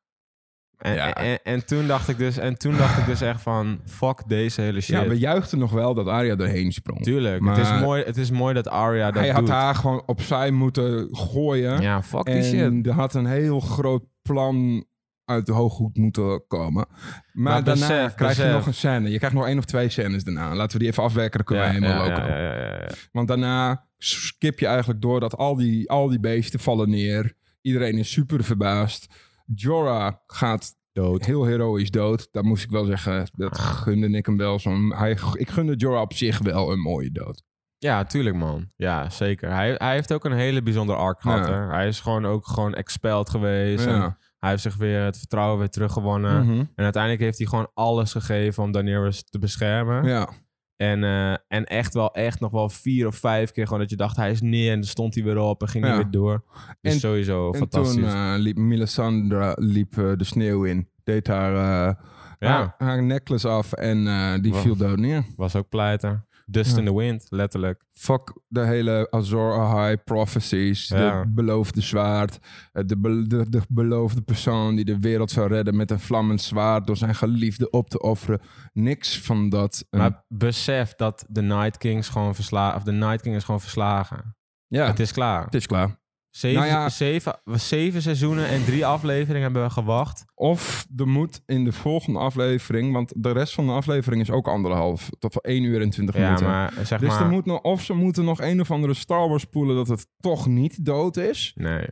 [SPEAKER 2] En,
[SPEAKER 1] Ja.
[SPEAKER 2] En, en toen dacht ik dus, en toen dacht ik dus echt van, fuck deze hele shit.
[SPEAKER 1] Ja, we juichten nog wel dat Arya erheen sprong.
[SPEAKER 2] Tuurlijk.
[SPEAKER 1] Maar-
[SPEAKER 2] het, is mooi, het is mooi dat Arya dat
[SPEAKER 1] Hij had
[SPEAKER 2] doet.
[SPEAKER 1] haar gewoon opzij moeten gooien.
[SPEAKER 2] Ja, fuck die shit.
[SPEAKER 1] En er had een heel groot plan uit de hooghoed moeten komen. Maar,
[SPEAKER 2] Maar
[SPEAKER 1] daarna
[SPEAKER 2] besef,
[SPEAKER 1] krijg je
[SPEAKER 2] besef.
[SPEAKER 1] nog een scène. Je krijgt nog één of twee scènes daarna. Laten we die even afwerken, dan kunnen
[SPEAKER 2] ja,
[SPEAKER 1] we helemaal
[SPEAKER 2] ja,
[SPEAKER 1] lopen.
[SPEAKER 2] ja, ja, ja, ja.
[SPEAKER 1] Want daarna skip je eigenlijk door dat al die, al die beesten vallen neer. Iedereen is super verbaasd. Jorah gaat
[SPEAKER 2] Dood. Ah.
[SPEAKER 1] heel heroïs dood. Dat moest ik wel zeggen. Dat gunde ik hem wel. Zo'n, hij, ik gunde Jorah op zich wel een mooie dood.
[SPEAKER 2] Ja, tuurlijk man. Ja, zeker. Hij, hij heeft ook een hele bijzonder arc gehad.
[SPEAKER 1] Ja.
[SPEAKER 2] Hè? Hij is gewoon ook gewoon expelled geweest. En
[SPEAKER 1] Ja.
[SPEAKER 2] hij heeft zich weer het vertrouwen weer teruggewonnen.
[SPEAKER 1] Mhm.
[SPEAKER 2] En uiteindelijk heeft hij gewoon alles gegeven om Daenerys te beschermen.
[SPEAKER 1] ja.
[SPEAKER 2] En, eh, en echt wel echt nog wel vier of vijf keer gewoon dat je dacht hij is neer en dan stond hij weer op en ging hij
[SPEAKER 1] Ja.
[SPEAKER 2] weer door. Dus
[SPEAKER 1] En-
[SPEAKER 2] sowieso
[SPEAKER 1] En
[SPEAKER 2] fantastisch.
[SPEAKER 1] toen eh, liep Milisandra liep, eh, de sneeuw in. Deed haar, eh,
[SPEAKER 2] ja,
[SPEAKER 1] haar, haar necklace af en eh, die
[SPEAKER 2] Wow.
[SPEAKER 1] viel dood neer.
[SPEAKER 2] was ook pleiter. Dust
[SPEAKER 1] Ja.
[SPEAKER 2] in the wind, letterlijk.
[SPEAKER 1] Fuck de hele Azor Ahai prophecies.
[SPEAKER 2] Ja.
[SPEAKER 1] De beloofde zwaard. eh, De, be- de, de beloofde persoon die de wereld zou redden met een vlammend zwaard. Door zijn geliefde op te offeren. Niks van dat. eh, En-
[SPEAKER 2] Maar besef dat de Night Kings gewoon verslagen, of de Night King is gewoon verslagen.
[SPEAKER 1] ja,
[SPEAKER 2] Het is klaar.
[SPEAKER 1] het is klaar.
[SPEAKER 2] Zeven,
[SPEAKER 1] Nou ja.
[SPEAKER 2] zeven, zeven seizoenen en drie afleveringen hebben we gewacht.
[SPEAKER 1] Of er moet in de volgende aflevering, want de rest van de aflevering is ook anderhalf, tot wel 1 uur en 20
[SPEAKER 2] Ja,
[SPEAKER 1] minuten.
[SPEAKER 2] maar eh, zeg
[SPEAKER 1] dus
[SPEAKER 2] maar...
[SPEAKER 1] er moet nog, of ze moeten nog een of andere Star Wars poelen dat het toch niet dood is.
[SPEAKER 2] Nee.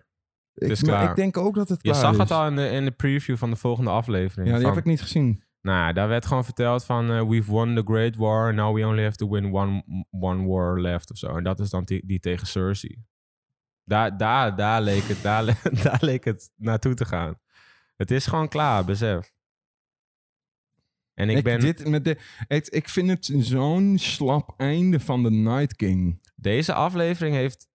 [SPEAKER 1] Het
[SPEAKER 2] is
[SPEAKER 1] ik, maar
[SPEAKER 2] klaar.
[SPEAKER 1] ik denk ook dat het
[SPEAKER 2] Je
[SPEAKER 1] klaar
[SPEAKER 2] zag
[SPEAKER 1] is.
[SPEAKER 2] het al in de, in de preview van de volgende aflevering.
[SPEAKER 1] dus- Ja, die
[SPEAKER 2] van-
[SPEAKER 1] heb ik niet gezien.
[SPEAKER 2] Nou, daar werd gewoon verteld van... eh, we've won the Great War, now we only have to win one, one war left of zo. En dat is dan die, die tegen Cersei. Daar, daar, daar, leek het, daar, le- daar leek het naartoe te gaan. Het is gewoon klaar, besef. En ik,
[SPEAKER 1] Ik,
[SPEAKER 2] ben...
[SPEAKER 1] dit, met de, het, ik vind het zo'n slap einde van de Night King.
[SPEAKER 2] Deze aflevering heeft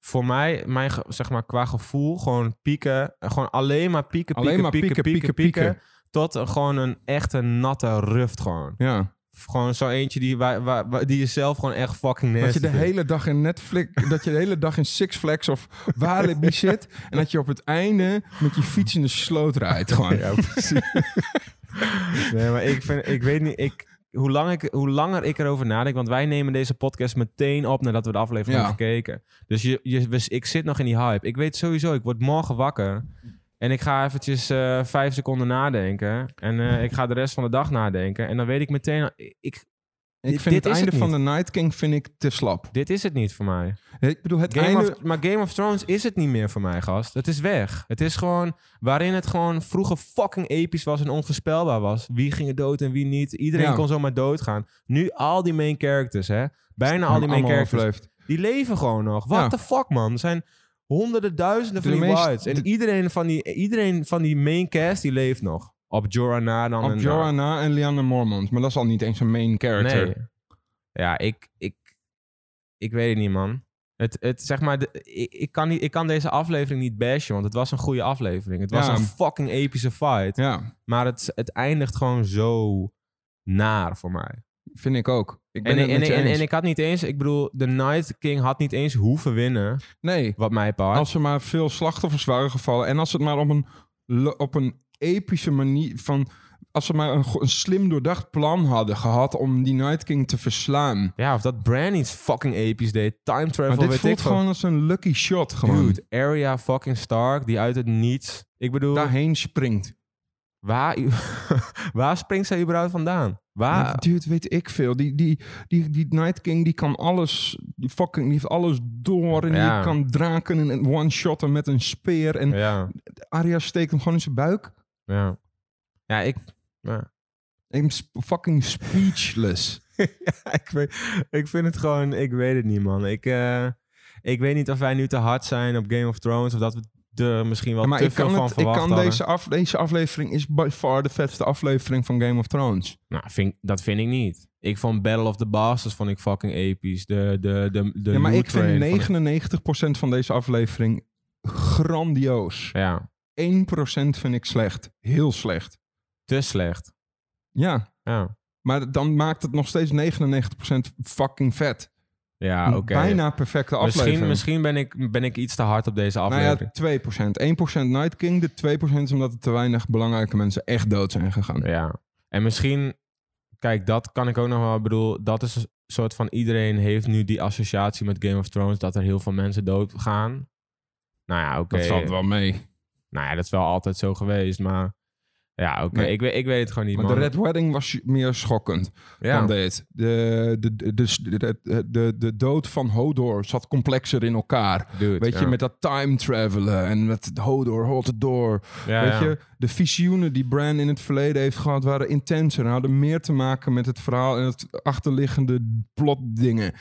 [SPEAKER 2] voor mij, mijn, ge- zeg maar, qua gevoel, gewoon pieken. eh, Gewoon alleen maar pieken, pieken,
[SPEAKER 1] Alleen maar
[SPEAKER 2] pieken, pieken, pieken,
[SPEAKER 1] pieken, pieken,
[SPEAKER 2] Tot een- gewoon een echte natte ruft gewoon.
[SPEAKER 1] Ja.
[SPEAKER 2] Gewoon zo eentje die, waar, waar, waar- die jezelf gewoon echt fucking nasty
[SPEAKER 1] Dat je de
[SPEAKER 2] vindt.
[SPEAKER 1] hele dag in Netflix, dat je de hele dag in Six Flags of Walibi zit. En dat je op het einde met je fiets in de sloot rijdt gewoon.
[SPEAKER 2] Ja, precies. nee, maar ik, vind, ik weet niet... Ik, hoe, lang ik, hoe langer ik erover nadenk... Want wij nemen deze podcast meteen op... nadat we de aflevering
[SPEAKER 1] Ja.
[SPEAKER 2] hebben gekeken. Dus je, je, we- ik zit nog in die hype. Ik weet sowieso, ik word morgen wakker... en ik ga eventjes eh, vijf seconden nadenken... en eh, ik ga de rest van de dag nadenken... en dan weet ik meteen... al, Ik,
[SPEAKER 1] Ik
[SPEAKER 2] Dit-
[SPEAKER 1] vind
[SPEAKER 2] dit
[SPEAKER 1] het
[SPEAKER 2] is
[SPEAKER 1] einde
[SPEAKER 2] het
[SPEAKER 1] van de Night King vind ik te slap.
[SPEAKER 2] dit is het niet voor mij.
[SPEAKER 1] Ik bedoel, het
[SPEAKER 2] Game
[SPEAKER 1] einde...
[SPEAKER 2] of, maar Game of Thrones is het niet meer voor mij, gast. Het is weg. Het is gewoon waarin het gewoon vroeger fucking episch was en onvoorspelbaar was. Wie ging er dood en wie niet. Iedereen
[SPEAKER 1] Ja.
[SPEAKER 2] kon zomaar doodgaan. Nu al die main characters, hè. Bijna al die main
[SPEAKER 1] Allemaal
[SPEAKER 2] characters.
[SPEAKER 1] overleefd.
[SPEAKER 2] Die leven gewoon nog. What
[SPEAKER 1] Ja.
[SPEAKER 2] the fuck, man. Er zijn honderden duizenden van
[SPEAKER 1] De
[SPEAKER 2] die
[SPEAKER 1] meest-
[SPEAKER 2] whites. En
[SPEAKER 1] de-
[SPEAKER 2] iedereen, van die, iedereen van die main cast, die leeft nog. Op Jorah na dan.
[SPEAKER 1] Op
[SPEAKER 2] en-
[SPEAKER 1] Jorah na en Liana Mormont. Maar dat is al niet eens een main character.
[SPEAKER 2] Nee. Ja, ik, ik, ik weet het niet, man. Het, het, zeg maar, de- ik, ik, kan niet, ik kan deze aflevering niet bashen, want het was een goede aflevering. Het was
[SPEAKER 1] Ja.
[SPEAKER 2] een fucking epische fight.
[SPEAKER 1] Ja,
[SPEAKER 2] Maar het, het eindigt gewoon zo naar voor mij.
[SPEAKER 1] vind ik ook. Ik ben
[SPEAKER 2] En,
[SPEAKER 1] het
[SPEAKER 2] en,
[SPEAKER 1] met
[SPEAKER 2] en,
[SPEAKER 1] je
[SPEAKER 2] en,
[SPEAKER 1] eens.
[SPEAKER 2] ik had niet eens, ik bedoel, de Night King had niet eens hoeven winnen,
[SPEAKER 1] Nee,
[SPEAKER 2] wat mij part.
[SPEAKER 1] als er maar veel slachtoffers waren gevallen... en als het maar op een, lo- op een epische manier van... als ze maar een, go- een slim doordacht plan hadden gehad... om die Night King te verslaan.
[SPEAKER 2] Ja, of dat Bran iets fucking episch deed, time travel,
[SPEAKER 1] Maar dit
[SPEAKER 2] weet ik
[SPEAKER 1] voelt
[SPEAKER 2] veel.
[SPEAKER 1] gewoon als een lucky shot. Gewoon.
[SPEAKER 2] Dude, Arya fucking Stark, die uit het niets, ik bedoel...
[SPEAKER 1] Daarheen springt.
[SPEAKER 2] Waar, waar springt zij überhaupt vandaan? Waar,
[SPEAKER 1] Ja, dude, weet ik veel. Die, die, die, die Night King die kan alles, die fucking, die heeft alles door. En
[SPEAKER 2] Ja.
[SPEAKER 1] die kan draken in een one-shotten met een speer. En
[SPEAKER 2] Ja,
[SPEAKER 1] Arya steekt hem gewoon in zijn buik.
[SPEAKER 2] ja. Ja, ik... Ja.
[SPEAKER 1] Ik ben sp- fucking speechless.
[SPEAKER 2] ik, weet, ik vind het gewoon... Ik weet het niet, man. Ik, eh, ik weet niet of wij nu te hard zijn op Game of Thrones... of dat we er misschien wel
[SPEAKER 1] maar
[SPEAKER 2] te
[SPEAKER 1] ik
[SPEAKER 2] veel
[SPEAKER 1] kan,
[SPEAKER 2] van
[SPEAKER 1] het, ik
[SPEAKER 2] verwacht
[SPEAKER 1] kan
[SPEAKER 2] hadden.
[SPEAKER 1] deze, af, deze aflevering is by far de vetste aflevering van Game of Thrones.
[SPEAKER 2] Nou, vind, dat vind ik niet. Ik vond Battle of the Bastards vond ik fucking episch. De, de, de, de
[SPEAKER 1] ja, maar
[SPEAKER 2] loot
[SPEAKER 1] ik
[SPEAKER 2] train
[SPEAKER 1] vind
[SPEAKER 2] vond
[SPEAKER 1] 99% van deze aflevering grandioos.
[SPEAKER 2] Ja,
[SPEAKER 1] 1% vind ik slecht. Heel slecht.
[SPEAKER 2] te slecht.
[SPEAKER 1] Ja,
[SPEAKER 2] Ja,
[SPEAKER 1] maar dan maakt het nog steeds 99% fucking vet.
[SPEAKER 2] ja
[SPEAKER 1] Een
[SPEAKER 2] Ah, oké.
[SPEAKER 1] Bijna perfecte
[SPEAKER 2] Misschien,
[SPEAKER 1] aflevering.
[SPEAKER 2] misschien ben, ik, ben ik iets te hard op deze aflevering.
[SPEAKER 1] Nou ja, 2%. 1% Night King. De 2% is omdat er te weinig belangrijke mensen echt dood zijn gegaan.
[SPEAKER 2] Ja. En misschien, kijk, dat kan ik ook nog wel. Ik bedoel, dat is een soort van iedereen heeft nu die associatie met Game of Thrones dat er heel veel mensen doodgaan. Nou ja, oké.
[SPEAKER 1] Dat valt wel mee.
[SPEAKER 2] Nou ja, dat is wel altijd zo geweest, maar ja, oké.
[SPEAKER 1] Nee.
[SPEAKER 2] Ik, weet, ik weet het gewoon niet.
[SPEAKER 1] Maar de
[SPEAKER 2] man.
[SPEAKER 1] Red Wedding was meer schokkend
[SPEAKER 2] ja.
[SPEAKER 1] dan dit. De, de, de, de, de, de, de dood van Hodor zat complexer in elkaar.
[SPEAKER 2] Dude,
[SPEAKER 1] Weet
[SPEAKER 2] ja.
[SPEAKER 1] je, met dat time travelen en met Hodor, hold het door.
[SPEAKER 2] Ja,
[SPEAKER 1] Weet
[SPEAKER 2] ja.
[SPEAKER 1] je, de visioenen die Bran in het verleden heeft gehad waren intenser. En hadden meer te maken met het verhaal en het achterliggende plotdingen.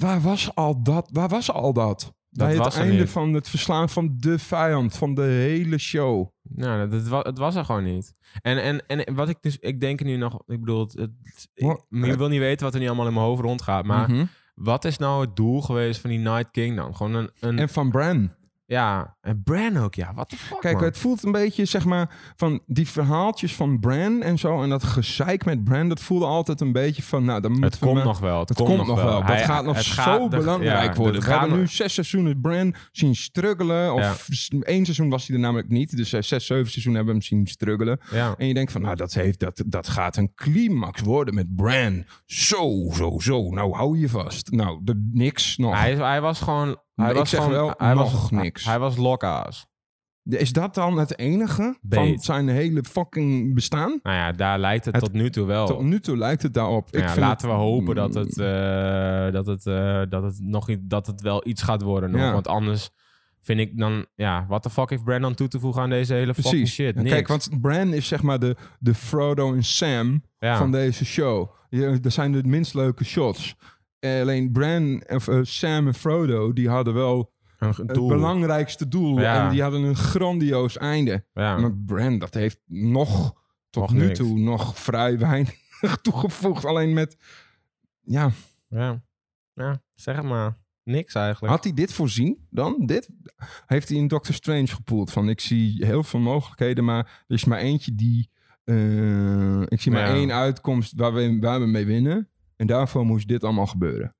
[SPEAKER 1] Waar was al dat? Waar was al dat? Bij het
[SPEAKER 2] was er
[SPEAKER 1] einde
[SPEAKER 2] niet.
[SPEAKER 1] van het verslaan van de vijand, van de hele show.
[SPEAKER 2] Nou, dat, het, was, het was er gewoon niet. En, en, en wat ik dus, ik denk er nu nog, ik bedoel, het, het- ik-
[SPEAKER 1] Wat?
[SPEAKER 2] je wil niet weten wat er nu allemaal in mijn hoofd rondgaat, maar
[SPEAKER 1] Mhm.
[SPEAKER 2] wat is nou het doel geweest van die Night Kingdom? Gewoon een, een
[SPEAKER 1] En van Bran.
[SPEAKER 2] ja, een brand ook, ja, wat de fuck,
[SPEAKER 1] Kijk,
[SPEAKER 2] man.
[SPEAKER 1] het voelt een beetje, zeg maar, van die verhaaltjes van Bran en zo. En dat gezeik met Bran, dat voelde altijd een beetje van, nou, dan moeten
[SPEAKER 2] Het
[SPEAKER 1] we
[SPEAKER 2] komt
[SPEAKER 1] maar-
[SPEAKER 2] nog wel. Het,
[SPEAKER 1] Het komt nog wel. Dat
[SPEAKER 2] Hij-
[SPEAKER 1] gaat nog
[SPEAKER 2] het
[SPEAKER 1] zo
[SPEAKER 2] gaat- dat-
[SPEAKER 1] belangrijk
[SPEAKER 2] ja,
[SPEAKER 1] worden.
[SPEAKER 2] dat
[SPEAKER 1] We hebben
[SPEAKER 2] gaat
[SPEAKER 1] nu
[SPEAKER 2] nog-
[SPEAKER 1] zes seizoenen Bran zien struggelen. Of s- één seizoen was hij er namelijk niet. Dus eh, zes, zeven seizoenen hebben we hem zien struggelen.
[SPEAKER 2] Ja.
[SPEAKER 1] En je denkt van, nou, dat, heeft, dat, dat gaat een climax worden met Bran. Zo, zo, zo. Nou, hou je vast. Nou, de, niks nog.
[SPEAKER 2] Hij, hij was gewoon... Hij
[SPEAKER 1] Ik
[SPEAKER 2] was
[SPEAKER 1] zeg
[SPEAKER 2] gewoon,
[SPEAKER 1] wel,
[SPEAKER 2] hij
[SPEAKER 1] nog
[SPEAKER 2] was,
[SPEAKER 1] niks.
[SPEAKER 2] Hij was lokaas.
[SPEAKER 1] Is dat dan het enige van
[SPEAKER 2] Beet.
[SPEAKER 1] zijn hele fucking bestaan?
[SPEAKER 2] Nou ja, daar lijkt het,
[SPEAKER 1] Het-
[SPEAKER 2] tot nu toe wel.
[SPEAKER 1] Tot nu toe lijkt het daarop.
[SPEAKER 2] Oh. Nou ja,
[SPEAKER 1] vind Mm,
[SPEAKER 2] laten
[SPEAKER 1] het-
[SPEAKER 2] we hopen dat het, eh, dat, het, eh, dat, het nog, i- dat het wel iets gaat worden. nog.
[SPEAKER 1] Ja.
[SPEAKER 2] Want anders vind ik dan... Ja, wat de fuck heeft Brandon toe te voegen aan deze hele fucking
[SPEAKER 1] Precies.
[SPEAKER 2] shit?
[SPEAKER 1] Ja,
[SPEAKER 2] Niks.
[SPEAKER 1] Kijk, want Bran is zeg maar de, de Frodo en Sam
[SPEAKER 2] Ja.
[SPEAKER 1] van deze show. Je- Dat zijn de minst leuke shots. Eh, Alleen Bran, of eh, Sam en Frodo, die hadden wel
[SPEAKER 2] Een
[SPEAKER 1] het
[SPEAKER 2] doel.
[SPEAKER 1] belangrijkste doel.
[SPEAKER 2] Ja.
[SPEAKER 1] En die hadden een grandioos einde.
[SPEAKER 2] Ja.
[SPEAKER 1] Maar Bran, dat heeft nog tot
[SPEAKER 2] Nog
[SPEAKER 1] nu
[SPEAKER 2] niks.
[SPEAKER 1] toe nog vrij weinig toegevoegd. Alleen met, ja,
[SPEAKER 2] Ja. ja, zeg het maar. Niks eigenlijk.
[SPEAKER 1] had hij dit voorzien dan? Dit heeft hij in Doctor Strange gepoeld. Van ik zie heel veel mogelijkheden, maar er is maar eentje die. eh, ik zie maar
[SPEAKER 2] Ja.
[SPEAKER 1] één uitkomst waar we, waar we mee winnen. En daarvoor moest dit allemaal gebeuren.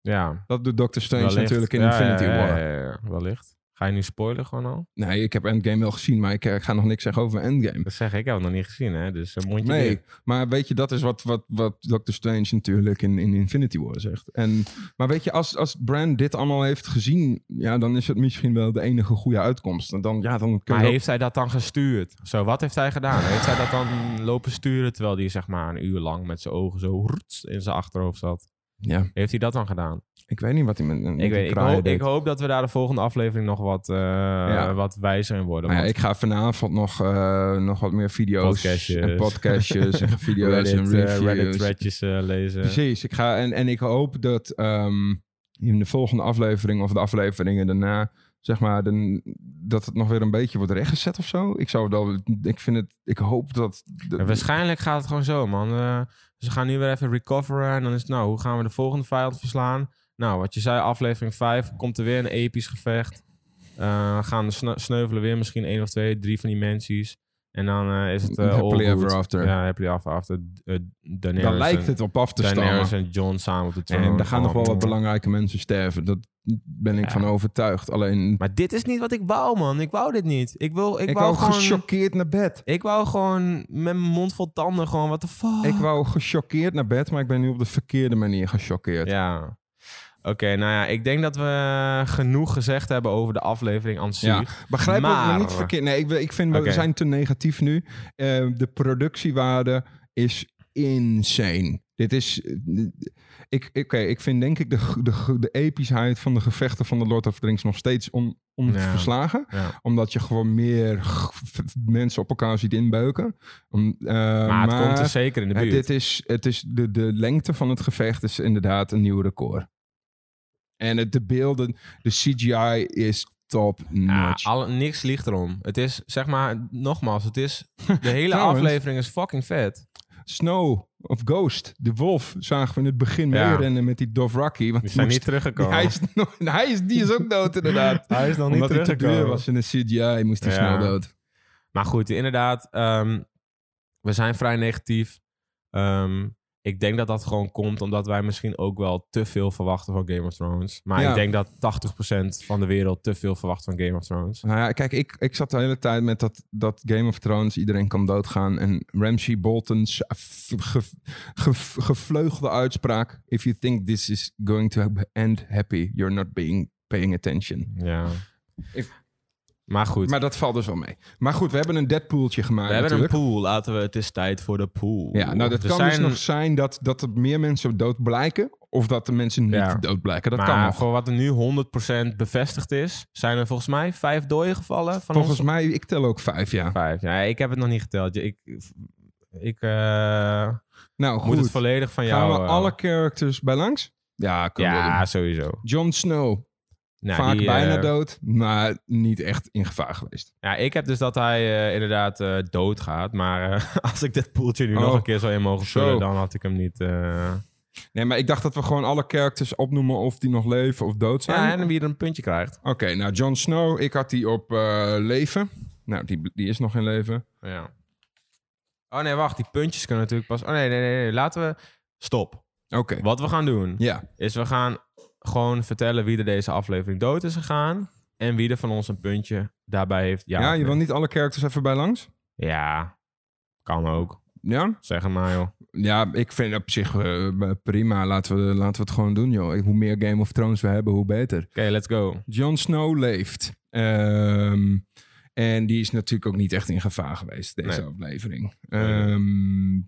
[SPEAKER 2] ja.
[SPEAKER 1] Dat doet Doctor Strange
[SPEAKER 2] wellicht.
[SPEAKER 1] natuurlijk in
[SPEAKER 2] Ja,
[SPEAKER 1] Infinity
[SPEAKER 2] ja, ja,
[SPEAKER 1] War.
[SPEAKER 2] ja, ja, wellicht. Ga je nu spoilen gewoon al?
[SPEAKER 1] Nee, ik heb Endgame wel gezien, maar ik, eh, ik ga nog niks zeggen over Endgame.
[SPEAKER 2] Dat zeg ik, ik heb het nog niet gezien, hè? Dus een mondje
[SPEAKER 1] Nee,
[SPEAKER 2] dicht.
[SPEAKER 1] maar weet je, dat is wat, wat, wat Doctor Strange natuurlijk in, in Infinity War zegt. En, maar weet je, als, als Bran dit allemaal heeft gezien, ja, dan is het misschien wel de enige goede uitkomst. En dan, ja, dan kun je
[SPEAKER 2] Maar
[SPEAKER 1] wel-
[SPEAKER 2] heeft hij dat dan gestuurd? Zo, wat heeft hij gedaan? Heeft hij dat dan lopen sturen terwijl hij zeg maar een uur lang met zijn ogen zo roets in zijn achterhoofd zat?
[SPEAKER 1] Ja.
[SPEAKER 2] Heeft hij dat dan gedaan?
[SPEAKER 1] Ik weet niet wat hij met, met
[SPEAKER 2] Ik,
[SPEAKER 1] die
[SPEAKER 2] weet, ik,
[SPEAKER 1] kraaien
[SPEAKER 2] hoop,
[SPEAKER 1] deed.
[SPEAKER 2] ik hoop dat we daar de volgende aflevering nog wat, eh, wat wijzer in worden.
[SPEAKER 1] Maar ja,
[SPEAKER 2] want
[SPEAKER 1] ik ga vanavond nog, eh, nog wat meer video's
[SPEAKER 2] Podcastjes.
[SPEAKER 1] en podcastjes en video's
[SPEAKER 2] Reddit,
[SPEAKER 1] en
[SPEAKER 2] eh,
[SPEAKER 1] reviews.
[SPEAKER 2] Reddit threadjes eh, lezen.
[SPEAKER 1] Precies. Ik ga, en, en ik hoop dat ehm, in de volgende aflevering of de afleveringen daarna, zeg maar, de, dat het nog weer een beetje wordt rechtgezet of zo. Ik zou wel, ik vind het, ik hoop dat... de-
[SPEAKER 2] Ja, waarschijnlijk gaat het gewoon zo, man. Eh, ze gaan nu weer even recoveren. En dan is het, nou, hoe gaan we de volgende vijand verslaan? Nou, wat je zei, aflevering 5 komt er weer een episch gevecht. Eh, gaan de sne- sneuvelen weer misschien één of twee, drie van die mensies. En dan eh, is het eh all
[SPEAKER 1] Happily
[SPEAKER 2] good.
[SPEAKER 1] ever after.
[SPEAKER 2] Ja, happily ever after. Eh, Daenerys
[SPEAKER 1] daar
[SPEAKER 2] en-
[SPEAKER 1] lijkt het op af te stammen.
[SPEAKER 2] Daenerys en Jon samen op de troon.
[SPEAKER 1] En er gaan nog wel wat
[SPEAKER 2] Oh.
[SPEAKER 1] belangrijke mensen sterven. Dat ben ik
[SPEAKER 2] Ja.
[SPEAKER 1] van overtuigd. Alleen,
[SPEAKER 2] Maar dit is niet wat ik wou, man. Ik wou dit niet. Ik wil, ik
[SPEAKER 1] ik
[SPEAKER 2] wou
[SPEAKER 1] wou
[SPEAKER 2] gewoon...
[SPEAKER 1] gechoqueerd naar bed.
[SPEAKER 2] Ik wou gewoon met mijn mond vol tanden gewoon, wat de fuck?
[SPEAKER 1] Ik wou gechoqueerd naar bed, maar ik ben nu op de verkeerde manier gechoqueerd.
[SPEAKER 2] Ja. Oké, nou ja, ik denk dat we genoeg gezegd hebben over de aflevering aan zich.
[SPEAKER 1] Ja, Begrijp me
[SPEAKER 2] Maar-
[SPEAKER 1] niet verkeerd. Nee, ik, wil- ik vind we
[SPEAKER 2] Oké.
[SPEAKER 1] zijn te negatief nu. Eh, de productiewaarde is insane. Dit is. eh, Ik, ik, oké, ik vind denk ik de, g- de, g- de epischheid van de gevechten van de Lord of the Rings nog steeds on, onverslagen.
[SPEAKER 2] Ja.
[SPEAKER 1] Omdat je gewoon meer g- v- mensen op elkaar ziet inbeuken. Om, eh,
[SPEAKER 2] Maar het komt
[SPEAKER 1] maar
[SPEAKER 2] er zeker in de
[SPEAKER 1] het,
[SPEAKER 2] buurt.
[SPEAKER 1] dit is, het is de, de lengte van het gevecht is inderdaad een nieuw record. En het, de beelden, de CGI is top
[SPEAKER 2] ja,
[SPEAKER 1] notch.
[SPEAKER 2] alle- niks ligt erom. Het is, zeg maar, nogmaals, het is, de hele
[SPEAKER 1] Trouwens.
[SPEAKER 2] aflevering is fucking vet.
[SPEAKER 1] Snow of Ghost, de wolf, zagen we in het begin
[SPEAKER 2] Ja.
[SPEAKER 1] meerennen met die Dothraki. Want moest-
[SPEAKER 2] teruggekomen.
[SPEAKER 1] hij is, nog- hij is, die is ook dood inderdaad.
[SPEAKER 2] Hij is nog
[SPEAKER 1] Omdat hij te duur was in de CGI, moest hij
[SPEAKER 2] Ja.
[SPEAKER 1] snel dood.
[SPEAKER 2] Maar goed, inderdaad, ehm, we zijn vrij negatief. Ehm, ik denk dat dat gewoon komt omdat wij misschien ook wel te veel verwachten van Game of Thrones. Maar
[SPEAKER 1] Ja.
[SPEAKER 2] ik denk dat 80% van de wereld te veel verwacht van Game of Thrones.
[SPEAKER 1] Nou ja, kijk, ik, ik zat de hele tijd met dat, dat Game of Thrones, iedereen kan doodgaan. En Ramsey Bolton's ge, ge- gevleugelde uitspraak: If you think this is going to end happy, you're not being paying attention.
[SPEAKER 2] Ja.
[SPEAKER 1] Ik-
[SPEAKER 2] Maar goed,
[SPEAKER 1] Maar dat valt dus wel mee. Maar goed, we hebben een Deadpooltje gemaakt.
[SPEAKER 2] we hebben
[SPEAKER 1] natuurlijk.
[SPEAKER 2] een pool. Laten we, het is tijd voor de pool.
[SPEAKER 1] Ja, nou, dat
[SPEAKER 2] Er
[SPEAKER 1] kan dus
[SPEAKER 2] zijn-
[SPEAKER 1] nog zijn dat, dat er meer mensen dood blijken. Of dat de mensen niet
[SPEAKER 2] Ja.
[SPEAKER 1] dood blijken. Dat
[SPEAKER 2] maar
[SPEAKER 1] kan nog.
[SPEAKER 2] voor wat er nu 100% bevestigd is, zijn er volgens mij vijf doden gevallen. Van
[SPEAKER 1] Volgens
[SPEAKER 2] ons?
[SPEAKER 1] mij, ik tel ook vijf, ja.
[SPEAKER 2] vijf. Ja, ik heb het nog niet geteld. Ik, ik eh,
[SPEAKER 1] Nou, goed.
[SPEAKER 2] moet het volledig van jou...
[SPEAKER 1] Gaan we
[SPEAKER 2] eh,
[SPEAKER 1] alle characters bij langs? Ja, kan wel doen.
[SPEAKER 2] Ja, sowieso.
[SPEAKER 1] Jon Snow.
[SPEAKER 2] Nou,
[SPEAKER 1] Vaak
[SPEAKER 2] die,
[SPEAKER 1] bijna
[SPEAKER 2] eh,
[SPEAKER 1] dood, maar niet echt in gevaar geweest.
[SPEAKER 2] Ja, ik heb dus dat hij eh, inderdaad eh doodgaat. Maar eh, als ik dit poeltje nu
[SPEAKER 1] Oh.
[SPEAKER 2] nog een keer zou in mogen
[SPEAKER 1] Zo.
[SPEAKER 2] vullen, dan had ik hem niet... eh,
[SPEAKER 1] Nee, maar ik dacht dat we gewoon alle characters opnoemen of die nog leven of dood zijn.
[SPEAKER 2] Ja, en wie er een puntje krijgt.
[SPEAKER 1] Oké, nou Jon Snow, ik had die op eh, leven. Nou, die, die is nog in leven.
[SPEAKER 2] Ja. Oh nee, wacht. Die puntjes kunnen natuurlijk pas... Oh nee, nee, nee. nee. Laten we... Stop.
[SPEAKER 1] Oké,
[SPEAKER 2] Wat we gaan doen,
[SPEAKER 1] ja.
[SPEAKER 2] is we gaan gewoon vertellen wie er deze aflevering dood is gegaan. En wie er van ons een puntje daarbij heeft. Ja,
[SPEAKER 1] Ja,
[SPEAKER 2] of
[SPEAKER 1] je wil
[SPEAKER 2] nee.
[SPEAKER 1] niet alle characters even bij langs?
[SPEAKER 2] Ja, kan ook.
[SPEAKER 1] Ja?
[SPEAKER 2] Zeg het maar, joh.
[SPEAKER 1] Ja, ik vind op zich eh, prima. Laten we, laten we het gewoon doen, joh. Hoe meer Game of Thrones we hebben, hoe beter.
[SPEAKER 2] Oké, let's go.
[SPEAKER 1] Jon Snow leeft. Ehm, en die is natuurlijk ook niet echt in gevaar geweest, deze
[SPEAKER 2] Nee.
[SPEAKER 1] aflevering. Ehm,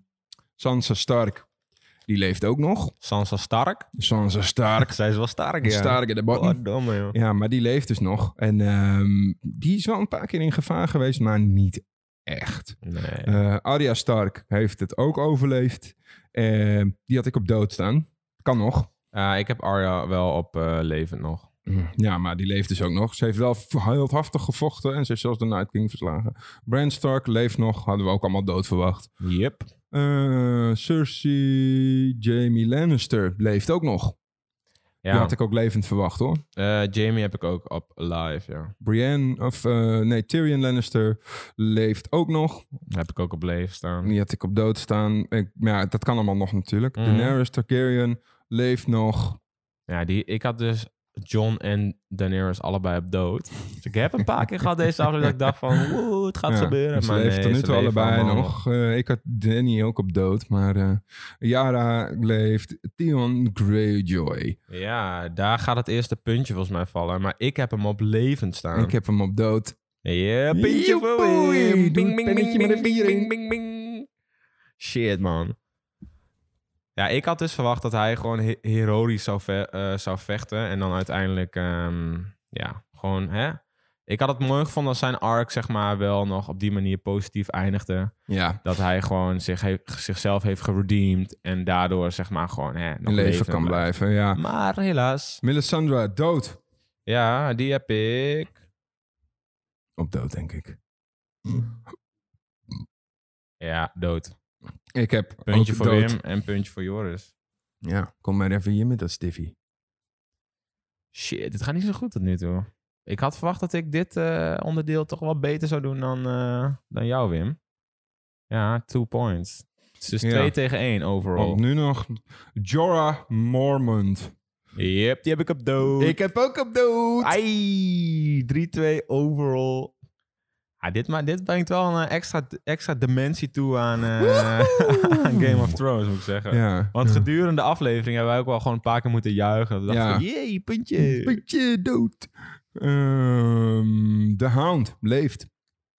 [SPEAKER 1] Sansa Stark, die leeft ook nog.
[SPEAKER 2] Sansa Stark.
[SPEAKER 1] Sansa Stark.
[SPEAKER 2] Zij is wel stark, ja.
[SPEAKER 1] Stark in de bottom.
[SPEAKER 2] Goddomme, joh.
[SPEAKER 1] Ja, maar die leeft dus nog. En ehm, die is wel een paar keer in gevaar geweest, maar niet echt.
[SPEAKER 2] Nee.
[SPEAKER 1] Eh Arya Stark heeft het ook overleefd. Ehm, die had ik op dood staan. Kan nog.
[SPEAKER 2] Eh, ik heb Arya wel op eh levend nog.
[SPEAKER 1] Ja, maar die leeft dus ook nog. Ze heeft wel heldhaftig gevochten en ze heeft zelfs de Night King verslagen. Bran Stark leeft nog. Hadden we ook allemaal dood verwacht.
[SPEAKER 2] Yep.
[SPEAKER 1] Eh, Cersei Jamie Lannister leeft ook nog. Die
[SPEAKER 2] Ja,
[SPEAKER 1] had ik ook levend verwacht hoor.
[SPEAKER 2] eh, Jamie heb ik ook op live, ja.
[SPEAKER 1] Brienne, of eh, nee, Tyrion Lannister leeft ook nog.
[SPEAKER 2] Heb ik ook op leven staan.
[SPEAKER 1] Die had ik op dood staan. Ik, maar ja, dat kan allemaal nog natuurlijk.
[SPEAKER 2] Mhm.
[SPEAKER 1] Daenerys Targaryen leeft nog.
[SPEAKER 2] Ja, die, ik had dus John en Daenerys allebei op dood. Dus ik heb een paar keer gehad deze aflevering dat ik dacht van, woe, het gaat
[SPEAKER 1] Ja, Dus
[SPEAKER 2] gebeuren.
[SPEAKER 1] Ze
[SPEAKER 2] maar
[SPEAKER 1] leeft
[SPEAKER 2] nee,
[SPEAKER 1] tot nu
[SPEAKER 2] ze
[SPEAKER 1] toe
[SPEAKER 2] leven
[SPEAKER 1] allebei
[SPEAKER 2] allemaal
[SPEAKER 1] nog. Eh, ik had Danny ook op dood. Maar eh Yara leeft. Theon Greyjoy.
[SPEAKER 2] Ja, daar gaat het eerste puntje volgens mij vallen. Maar ik heb hem op levend staan.
[SPEAKER 1] Ik heb hem op dood.
[SPEAKER 2] Ja, puntje voor
[SPEAKER 1] Joepoe,
[SPEAKER 2] Wim.
[SPEAKER 1] doe
[SPEAKER 2] Bing,
[SPEAKER 1] een
[SPEAKER 2] bing,
[SPEAKER 1] pennetje
[SPEAKER 2] bing,
[SPEAKER 1] met
[SPEAKER 2] bing,
[SPEAKER 1] een bier in.
[SPEAKER 2] bing, bing, bing. Shit, man. Ja, ik had dus verwacht dat hij gewoon he- heroïs zou, ve- eh, zou vechten. En dan uiteindelijk, ehm, ja, gewoon, hè. Ik had het mooi gevonden als zijn arc, zeg maar, wel nog op die manier positief eindigde.
[SPEAKER 1] Ja,
[SPEAKER 2] Dat hij gewoon zich he- zichzelf heeft geredeemd. En daardoor, zeg maar, gewoon, hè, nog
[SPEAKER 1] in leven
[SPEAKER 2] levend
[SPEAKER 1] kan
[SPEAKER 2] blijft.
[SPEAKER 1] blijven. Ja.
[SPEAKER 2] Maar helaas.
[SPEAKER 1] Melisandre, dood.
[SPEAKER 2] Ja, die heb ik.
[SPEAKER 1] Op dood, denk ik.
[SPEAKER 2] Ja, dood.
[SPEAKER 1] Ik heb
[SPEAKER 2] Puntje
[SPEAKER 1] ook
[SPEAKER 2] voor
[SPEAKER 1] dood.
[SPEAKER 2] Wim en puntje voor Joris.
[SPEAKER 1] Ja, kom maar even hier met dat stiffie.
[SPEAKER 2] Shit, dit gaat niet zo goed tot nu toe. Ik had verwacht dat ik dit eh, onderdeel toch wel beter zou doen dan, eh, dan jou, Wim. Ja, two points. Het is dus
[SPEAKER 1] Ja. Oh,
[SPEAKER 2] twee tegen één overall.
[SPEAKER 1] Want nu nog Jorah Mormont.
[SPEAKER 2] Yep, die heb ik op dood.
[SPEAKER 1] Ik heb ook op dood.
[SPEAKER 2] Ai, 3-2 overall. Ah, dit, maar, dit brengt wel een eh, extra, extra dimensie toe aan, eh,
[SPEAKER 1] Woehoe!
[SPEAKER 2] aan Game of Thrones, moet ik zeggen.
[SPEAKER 1] Ja.
[SPEAKER 2] Want gedurende de aflevering hebben wij ook wel gewoon een paar keer moeten juichen. We dachten
[SPEAKER 1] Ja.
[SPEAKER 2] van, jee, puntje.
[SPEAKER 1] Puntje dood. Ehm, de Hound leeft.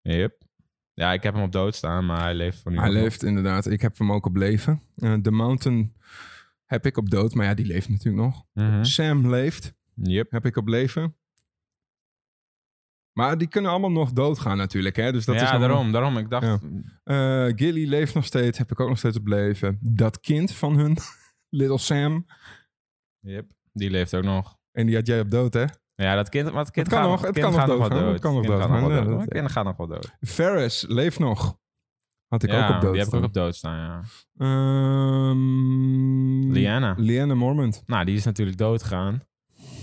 [SPEAKER 2] Yep. Ja, ik heb hem op dood staan, maar hij leeft van nu.
[SPEAKER 1] Hij
[SPEAKER 2] nog.
[SPEAKER 1] leeft inderdaad. Ik heb hem ook op leven. Eh, De Mountain heb ik op dood, maar ja, die leeft natuurlijk nog.
[SPEAKER 2] Mhm.
[SPEAKER 1] Sam leeft,
[SPEAKER 2] Yep.
[SPEAKER 1] heb ik op leven. Maar die kunnen allemaal nog doodgaan natuurlijk. Hè? Dus dat
[SPEAKER 2] ja,
[SPEAKER 1] is nog-
[SPEAKER 2] daarom, daarom. Ik dacht,
[SPEAKER 1] Ja. Eh, Gilly leeft nog steeds, heb ik ook nog steeds op leven. Dat kind van hun, Little Sam.
[SPEAKER 2] yep, die leeft ook nog.
[SPEAKER 1] En die had jij op dood, hè?
[SPEAKER 2] Ja, dat kind, maar het kind
[SPEAKER 1] Het kan
[SPEAKER 2] gaat
[SPEAKER 1] nog, het
[SPEAKER 2] kind
[SPEAKER 1] kan nog
[SPEAKER 2] gaat wel
[SPEAKER 1] doodgaan, het kan nog
[SPEAKER 2] kind gaat
[SPEAKER 1] doodgaan,
[SPEAKER 2] nog wel
[SPEAKER 1] ja,
[SPEAKER 2] dood.
[SPEAKER 1] dat-
[SPEAKER 2] Het kind gaat nog wel dood.
[SPEAKER 1] Ferris leeft nog. Had ik
[SPEAKER 2] Ja,
[SPEAKER 1] ook op dood.
[SPEAKER 2] Die heb ik
[SPEAKER 1] staan.
[SPEAKER 2] ook op dood staan, ja.
[SPEAKER 1] Ehm,
[SPEAKER 2] Liana.
[SPEAKER 1] Liana Mormont.
[SPEAKER 2] Nou, die is natuurlijk dood gegaan.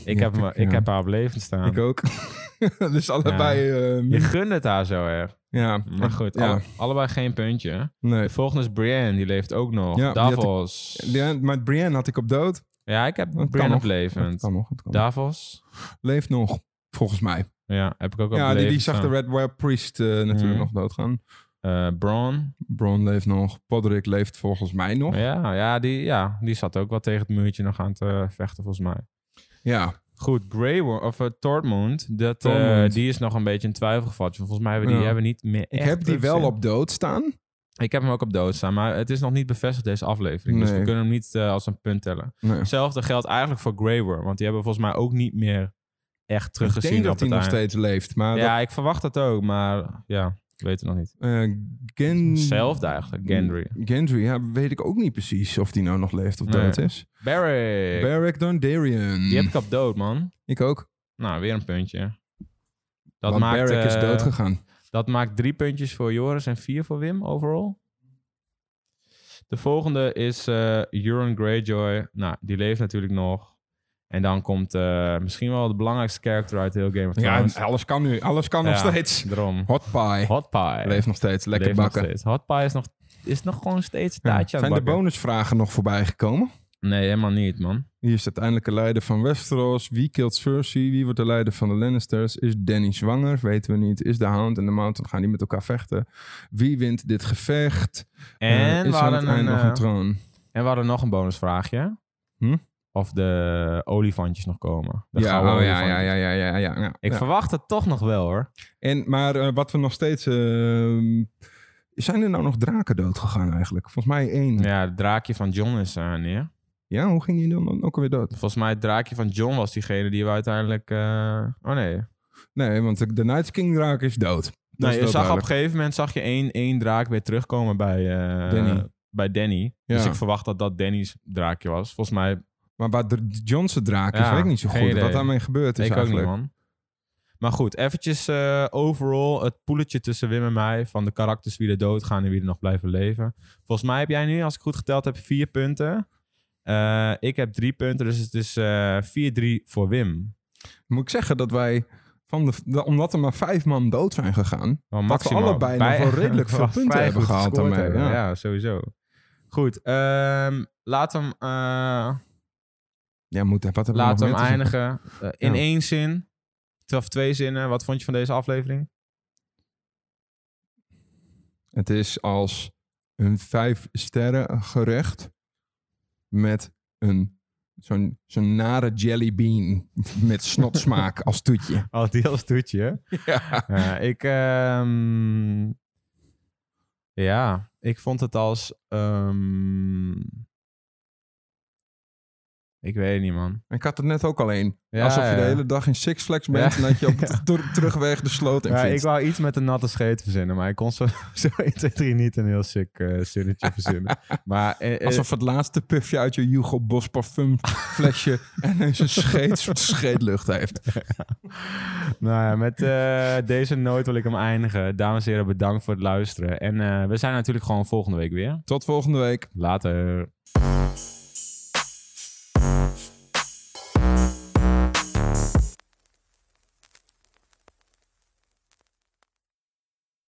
[SPEAKER 2] Ik,
[SPEAKER 1] Ja,
[SPEAKER 2] heb, hem,
[SPEAKER 1] ik-
[SPEAKER 2] ik
[SPEAKER 1] ja.
[SPEAKER 2] heb haar op leven staan.
[SPEAKER 1] Ik ook. dus allebei... Ja.
[SPEAKER 2] Je gunt het haar zo erg.
[SPEAKER 1] ja.
[SPEAKER 2] Maar goed,
[SPEAKER 1] Ja.
[SPEAKER 2] alle- allebei geen puntje.
[SPEAKER 1] Nee.
[SPEAKER 2] De volgende is Brienne, die leeft ook nog.
[SPEAKER 1] Ja, die had ik-
[SPEAKER 2] Davos.
[SPEAKER 1] Liana- maar Brienne had ik op dood.
[SPEAKER 2] Ja, ik heb
[SPEAKER 1] kan
[SPEAKER 2] Brienne
[SPEAKER 1] nog.
[SPEAKER 2] op levend.
[SPEAKER 1] Het kan nog. het kan nog.
[SPEAKER 2] Davos.
[SPEAKER 1] Leeft nog, volgens mij.
[SPEAKER 2] Ja, heb ik ook op
[SPEAKER 1] Ja, die, die
[SPEAKER 2] levend
[SPEAKER 1] zag de
[SPEAKER 2] staan.
[SPEAKER 1] Red Web Priest eh, natuurlijk
[SPEAKER 2] Mhm.
[SPEAKER 1] nog doodgaan.
[SPEAKER 2] Eh, Bron.
[SPEAKER 1] Bron leeft nog. Podrick leeft volgens mij nog.
[SPEAKER 2] Ja, ja, die, ja, die zat ook wel tegen het muurtje nog aan te vechten, volgens mij.
[SPEAKER 1] Ja.
[SPEAKER 2] Goed, Grey Worm, of eh, Tormund, dat, eh,
[SPEAKER 1] Tormund.
[SPEAKER 2] die is nog een beetje een twijfelgevatje. Volgens mij hebben we die
[SPEAKER 1] Ja.
[SPEAKER 2] hebben we niet meer
[SPEAKER 1] Ik
[SPEAKER 2] echt
[SPEAKER 1] heb die
[SPEAKER 2] terugzien.
[SPEAKER 1] wel op dood staan.
[SPEAKER 2] Ik heb hem ook op dood staan, maar het is nog niet bevestigd deze aflevering. Dus
[SPEAKER 1] Nee.
[SPEAKER 2] we kunnen hem niet eh, als een punt tellen.
[SPEAKER 1] Nee.
[SPEAKER 2] Hetzelfde geldt eigenlijk voor Grey Worm, want die hebben we volgens mij ook niet meer echt
[SPEAKER 1] Ik
[SPEAKER 2] teruggezien.
[SPEAKER 1] denk dat
[SPEAKER 2] op
[SPEAKER 1] hij
[SPEAKER 2] het
[SPEAKER 1] nog
[SPEAKER 2] eind.
[SPEAKER 1] steeds leeft. Maar
[SPEAKER 2] Ja, ik verwacht dat ook, maar ja, ik weet het nog niet.
[SPEAKER 1] dat, eh, Gen...
[SPEAKER 2] Hetzelfde eigenlijk, Gendry.
[SPEAKER 1] Gendry, ja, weet ik ook niet precies of die nou nog leeft of
[SPEAKER 2] Nee.
[SPEAKER 1] dood is.
[SPEAKER 2] Barrick,
[SPEAKER 1] Barrack Dondarrion.
[SPEAKER 2] die heb ik op dood, man.
[SPEAKER 1] Ik ook.
[SPEAKER 2] Nou, weer een puntje. Dat
[SPEAKER 1] Dat Want
[SPEAKER 2] maakt,
[SPEAKER 1] Barrick is
[SPEAKER 2] eh,
[SPEAKER 1] doodgegaan.
[SPEAKER 2] Dat maakt drie puntjes voor Joris en vier voor Wim overall. De volgende is eh Euron Greyjoy. Nou, die leeft natuurlijk nog. En dan komt eh, misschien wel de belangrijkste character uit heel Game of
[SPEAKER 1] Ja,
[SPEAKER 2] Thrones.
[SPEAKER 1] alles kan nu. Alles kan nog
[SPEAKER 2] Ja.
[SPEAKER 1] steeds.
[SPEAKER 2] Daarom.
[SPEAKER 1] Hot pie.
[SPEAKER 2] Hot pie.
[SPEAKER 1] Leeft nog steeds. Lekker
[SPEAKER 2] Leeft nog
[SPEAKER 1] bakken.
[SPEAKER 2] steeds. Hot pie is nog, is nog gewoon steeds een
[SPEAKER 1] Ja.
[SPEAKER 2] taartje aan
[SPEAKER 1] Zijn
[SPEAKER 2] het
[SPEAKER 1] de
[SPEAKER 2] bakken.
[SPEAKER 1] bonusvragen nog voorbij gekomen?
[SPEAKER 2] Nee, helemaal niet, man.
[SPEAKER 1] Wie is de uiteindelijke leider van Westeros? Wie killt Cersei? Wie wordt de leider van de Lannisters? Is Danny zwanger? Weten we niet. Is de Hound en de Mountain gaan die met elkaar vechten? Wie wint dit gevecht? Eh,
[SPEAKER 2] En,
[SPEAKER 1] is
[SPEAKER 2] we
[SPEAKER 1] aan
[SPEAKER 2] hadden
[SPEAKER 1] het eind
[SPEAKER 2] een,
[SPEAKER 1] nog een
[SPEAKER 2] eh,
[SPEAKER 1] troon?
[SPEAKER 2] en we hadden nog een bonusvraagje.
[SPEAKER 1] Hm?
[SPEAKER 2] Of de olifantjes nog komen. De
[SPEAKER 1] Ja,
[SPEAKER 2] gouden
[SPEAKER 1] oh, ja, ja,
[SPEAKER 2] olifantjes.
[SPEAKER 1] ja, ja, ja, ja, ja.
[SPEAKER 2] Ik
[SPEAKER 1] Ja.
[SPEAKER 2] verwacht het toch nog wel, hoor.
[SPEAKER 1] En, maar eh, wat we nog steeds... ehm, zijn er nou nog draken doodgegaan eigenlijk? Volgens mij één. Ja,
[SPEAKER 2] Ja, het draakje van John is aan neer.
[SPEAKER 1] hoe ging die dan ook alweer dood?
[SPEAKER 2] Volgens mij het draakje van John was diegene die we uiteindelijk... eh, Oh nee.
[SPEAKER 1] Nee, want de- de Night King draak is dood. Dat
[SPEAKER 2] nee
[SPEAKER 1] is
[SPEAKER 2] je
[SPEAKER 1] wel
[SPEAKER 2] zag op een
[SPEAKER 1] duidelijk.
[SPEAKER 2] gegeven moment zag je één, één draak weer terugkomen bij eh,
[SPEAKER 1] Danny.
[SPEAKER 2] Bij Danny. Dus
[SPEAKER 1] Ja.
[SPEAKER 2] ik verwacht dat dat Danny's draakje was. Volgens mij,
[SPEAKER 1] Maar waar de Johnson draak is,
[SPEAKER 2] Ja,
[SPEAKER 1] weet ik niet zo
[SPEAKER 2] geen
[SPEAKER 1] goed.
[SPEAKER 2] idee.
[SPEAKER 1] Wat daarmee gebeurd is
[SPEAKER 2] ik ook niet
[SPEAKER 1] eigenlijk.
[SPEAKER 2] man. Maar goed, eventjes eh, overall het poeletje tussen Wim en mij van de karakters wie er doodgaan en wie er nog blijven leven. Volgens mij heb jij nu, als ik goed geteld heb, vier punten. Eh, ik heb drie punten, dus het is eh 4-3 voor Wim.
[SPEAKER 1] Moet ik zeggen dat wij, van de, de- omdat er maar vijf man dood zijn gegaan,
[SPEAKER 2] Wel
[SPEAKER 1] Dat we
[SPEAKER 2] maximaal.
[SPEAKER 1] allebei nog wel redelijk veel
[SPEAKER 2] wel
[SPEAKER 1] punten
[SPEAKER 2] vrij
[SPEAKER 1] hebben
[SPEAKER 2] goed
[SPEAKER 1] gehaald
[SPEAKER 2] gescoord
[SPEAKER 1] daarmee,
[SPEAKER 2] hebben.
[SPEAKER 1] ja.
[SPEAKER 2] Ja. sowieso. Goed, ehm, laten we hem, eh,
[SPEAKER 1] ja, moet, wat hebben we nog
[SPEAKER 2] laten we
[SPEAKER 1] meer
[SPEAKER 2] hem
[SPEAKER 1] te zeggen?
[SPEAKER 2] eindigen eh, in
[SPEAKER 1] Ja.
[SPEAKER 2] één zin. Twee of twee zinnen. Wat vond je van deze aflevering?
[SPEAKER 1] Het is als een vijf sterren gerecht met een zo'n zo'n nare jellybean met snotsmaak als toetje.
[SPEAKER 2] Al deels Oh, toetje.
[SPEAKER 1] Ja.
[SPEAKER 2] Ja, ik, ehm, ja, ik vond het als, ehm, ik weet het niet man.
[SPEAKER 1] Ik had het net ook alleen.
[SPEAKER 2] Ja,
[SPEAKER 1] Alsof je de
[SPEAKER 2] ja.
[SPEAKER 1] hele dag in Six Flags bent en dat je op de ter- terugweg de sloot in
[SPEAKER 2] Ja, ik
[SPEAKER 1] fietst.
[SPEAKER 2] wou iets met een natte scheet verzinnen, maar ik kon zo, zo 1, 2, 3 niet een heel sick eh, zinnetje verzinnen. Maar eh, eh,
[SPEAKER 1] Alsof het laatste puffje uit je Hugo Boss parfum flesje en eens een scheet, soort scheetlucht heeft.
[SPEAKER 2] nou ja, met eh, deze noot wil ik hem eindigen. Dames en heren, bedankt voor het luisteren. En eh, we zijn natuurlijk gewoon volgende week weer.
[SPEAKER 1] Tot volgende week.
[SPEAKER 2] Later.